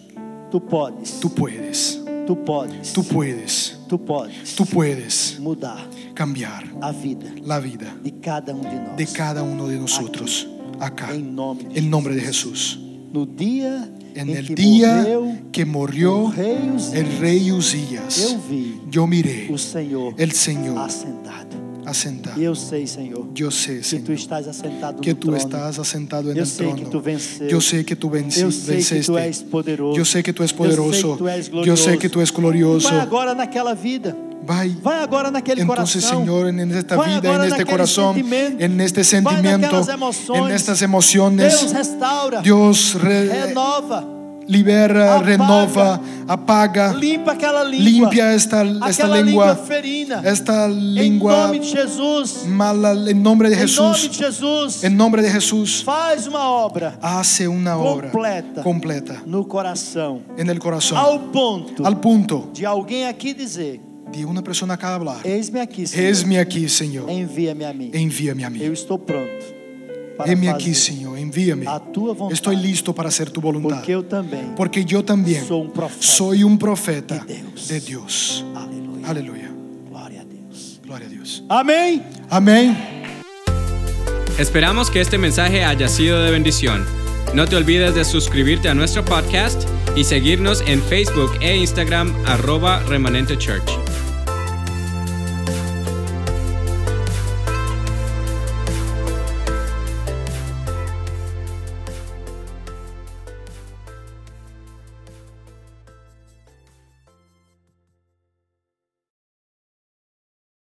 Speaker 2: tu podes,
Speaker 3: tú puedes,
Speaker 2: tu podes,
Speaker 3: tú puedes,
Speaker 2: tu podes
Speaker 3: tú puedes
Speaker 2: mudar
Speaker 3: cambiar
Speaker 2: a vida
Speaker 3: la vida
Speaker 2: de cada um de nós.
Speaker 3: de cada uno de nosotros acá.
Speaker 2: Em nome de
Speaker 3: En nombre de Jesús.
Speaker 2: No dia
Speaker 3: En
Speaker 2: em
Speaker 3: el
Speaker 2: que
Speaker 3: día
Speaker 2: morreu
Speaker 3: que
Speaker 2: o
Speaker 3: murió
Speaker 2: rei Uzias,
Speaker 3: el rey Usías,
Speaker 2: eu vi
Speaker 3: yo miré
Speaker 2: o Senhor
Speaker 3: el Señor
Speaker 2: assentado
Speaker 3: asentado.
Speaker 2: E eu sei, Senhor,
Speaker 3: Yo sé,
Speaker 2: que tu
Speaker 3: Señor,
Speaker 2: estás assentado
Speaker 3: que
Speaker 2: no
Speaker 3: tú
Speaker 2: trono.
Speaker 3: estás asentado en
Speaker 2: eu
Speaker 3: el
Speaker 2: sei que tu
Speaker 3: trono.
Speaker 2: venceu.
Speaker 3: Yo sé que tú venci-
Speaker 2: eu sei que tu
Speaker 3: venceste.
Speaker 2: és poderoso.
Speaker 3: Yo sé que tú es
Speaker 2: Eu sei
Speaker 3: poderoso.
Speaker 2: que tu és
Speaker 3: Yo sé que tú es glorioso.
Speaker 2: Vai agora naquela vida.
Speaker 3: Vai.
Speaker 2: Vai agora naquele
Speaker 3: Entonces,
Speaker 2: coração.
Speaker 3: Señor, en esta
Speaker 2: Vai
Speaker 3: vida, en
Speaker 2: agora
Speaker 3: este
Speaker 2: naquele
Speaker 3: corazón,
Speaker 2: sentimento.
Speaker 3: en este
Speaker 2: Vai
Speaker 3: sentimiento,
Speaker 2: naquelas emoções.
Speaker 3: en estas emociones,
Speaker 2: Deus eh, restaura,
Speaker 3: Dios re-
Speaker 2: renova,
Speaker 3: libera,
Speaker 2: Apaga.
Speaker 3: renova, apaga,
Speaker 2: limpa aquela língua.
Speaker 3: limpia esta, esta
Speaker 2: aquela
Speaker 3: lengua,
Speaker 2: ferina.
Speaker 3: esta
Speaker 2: em
Speaker 3: lengua
Speaker 2: nome de Jesus.
Speaker 3: mala, en nombre de
Speaker 2: Em nome de
Speaker 3: Jesús,
Speaker 2: Jesus.
Speaker 3: en nombre de Jesús,
Speaker 2: Faz uma obra
Speaker 3: hace una obra
Speaker 2: Completa.
Speaker 3: completa
Speaker 2: no coração.
Speaker 3: en el corazón,
Speaker 2: Ao ponto
Speaker 3: al punto
Speaker 2: de alguém aqui dizer:
Speaker 3: de una persona acá hablar,
Speaker 2: Eis-me aqui, Senhor.
Speaker 3: esme aquí, Señor,
Speaker 2: Envia-me a mim.
Speaker 3: envíame a mí,
Speaker 2: Eu estou pronto para
Speaker 3: heme aquí,
Speaker 2: fazer
Speaker 3: Señor, envíame,
Speaker 2: a tua vontade.
Speaker 3: estoy listo para hacer tu voluntad.
Speaker 2: Porque eu também
Speaker 3: Porque yo también
Speaker 2: sou um profeta.
Speaker 3: soy un profeta
Speaker 2: De Dios.
Speaker 3: de Dios.
Speaker 2: Aleluia.
Speaker 3: Aleluya.
Speaker 2: Glória a Deus.
Speaker 3: Gloria a Dios.
Speaker 2: Amém.
Speaker 3: Amén.
Speaker 1: Esperamos que este mensaje haya sido de bendición. No te olvides de suscribirte a nuestro podcast y seguirnos en Facebook e Instagram arroba remanente church.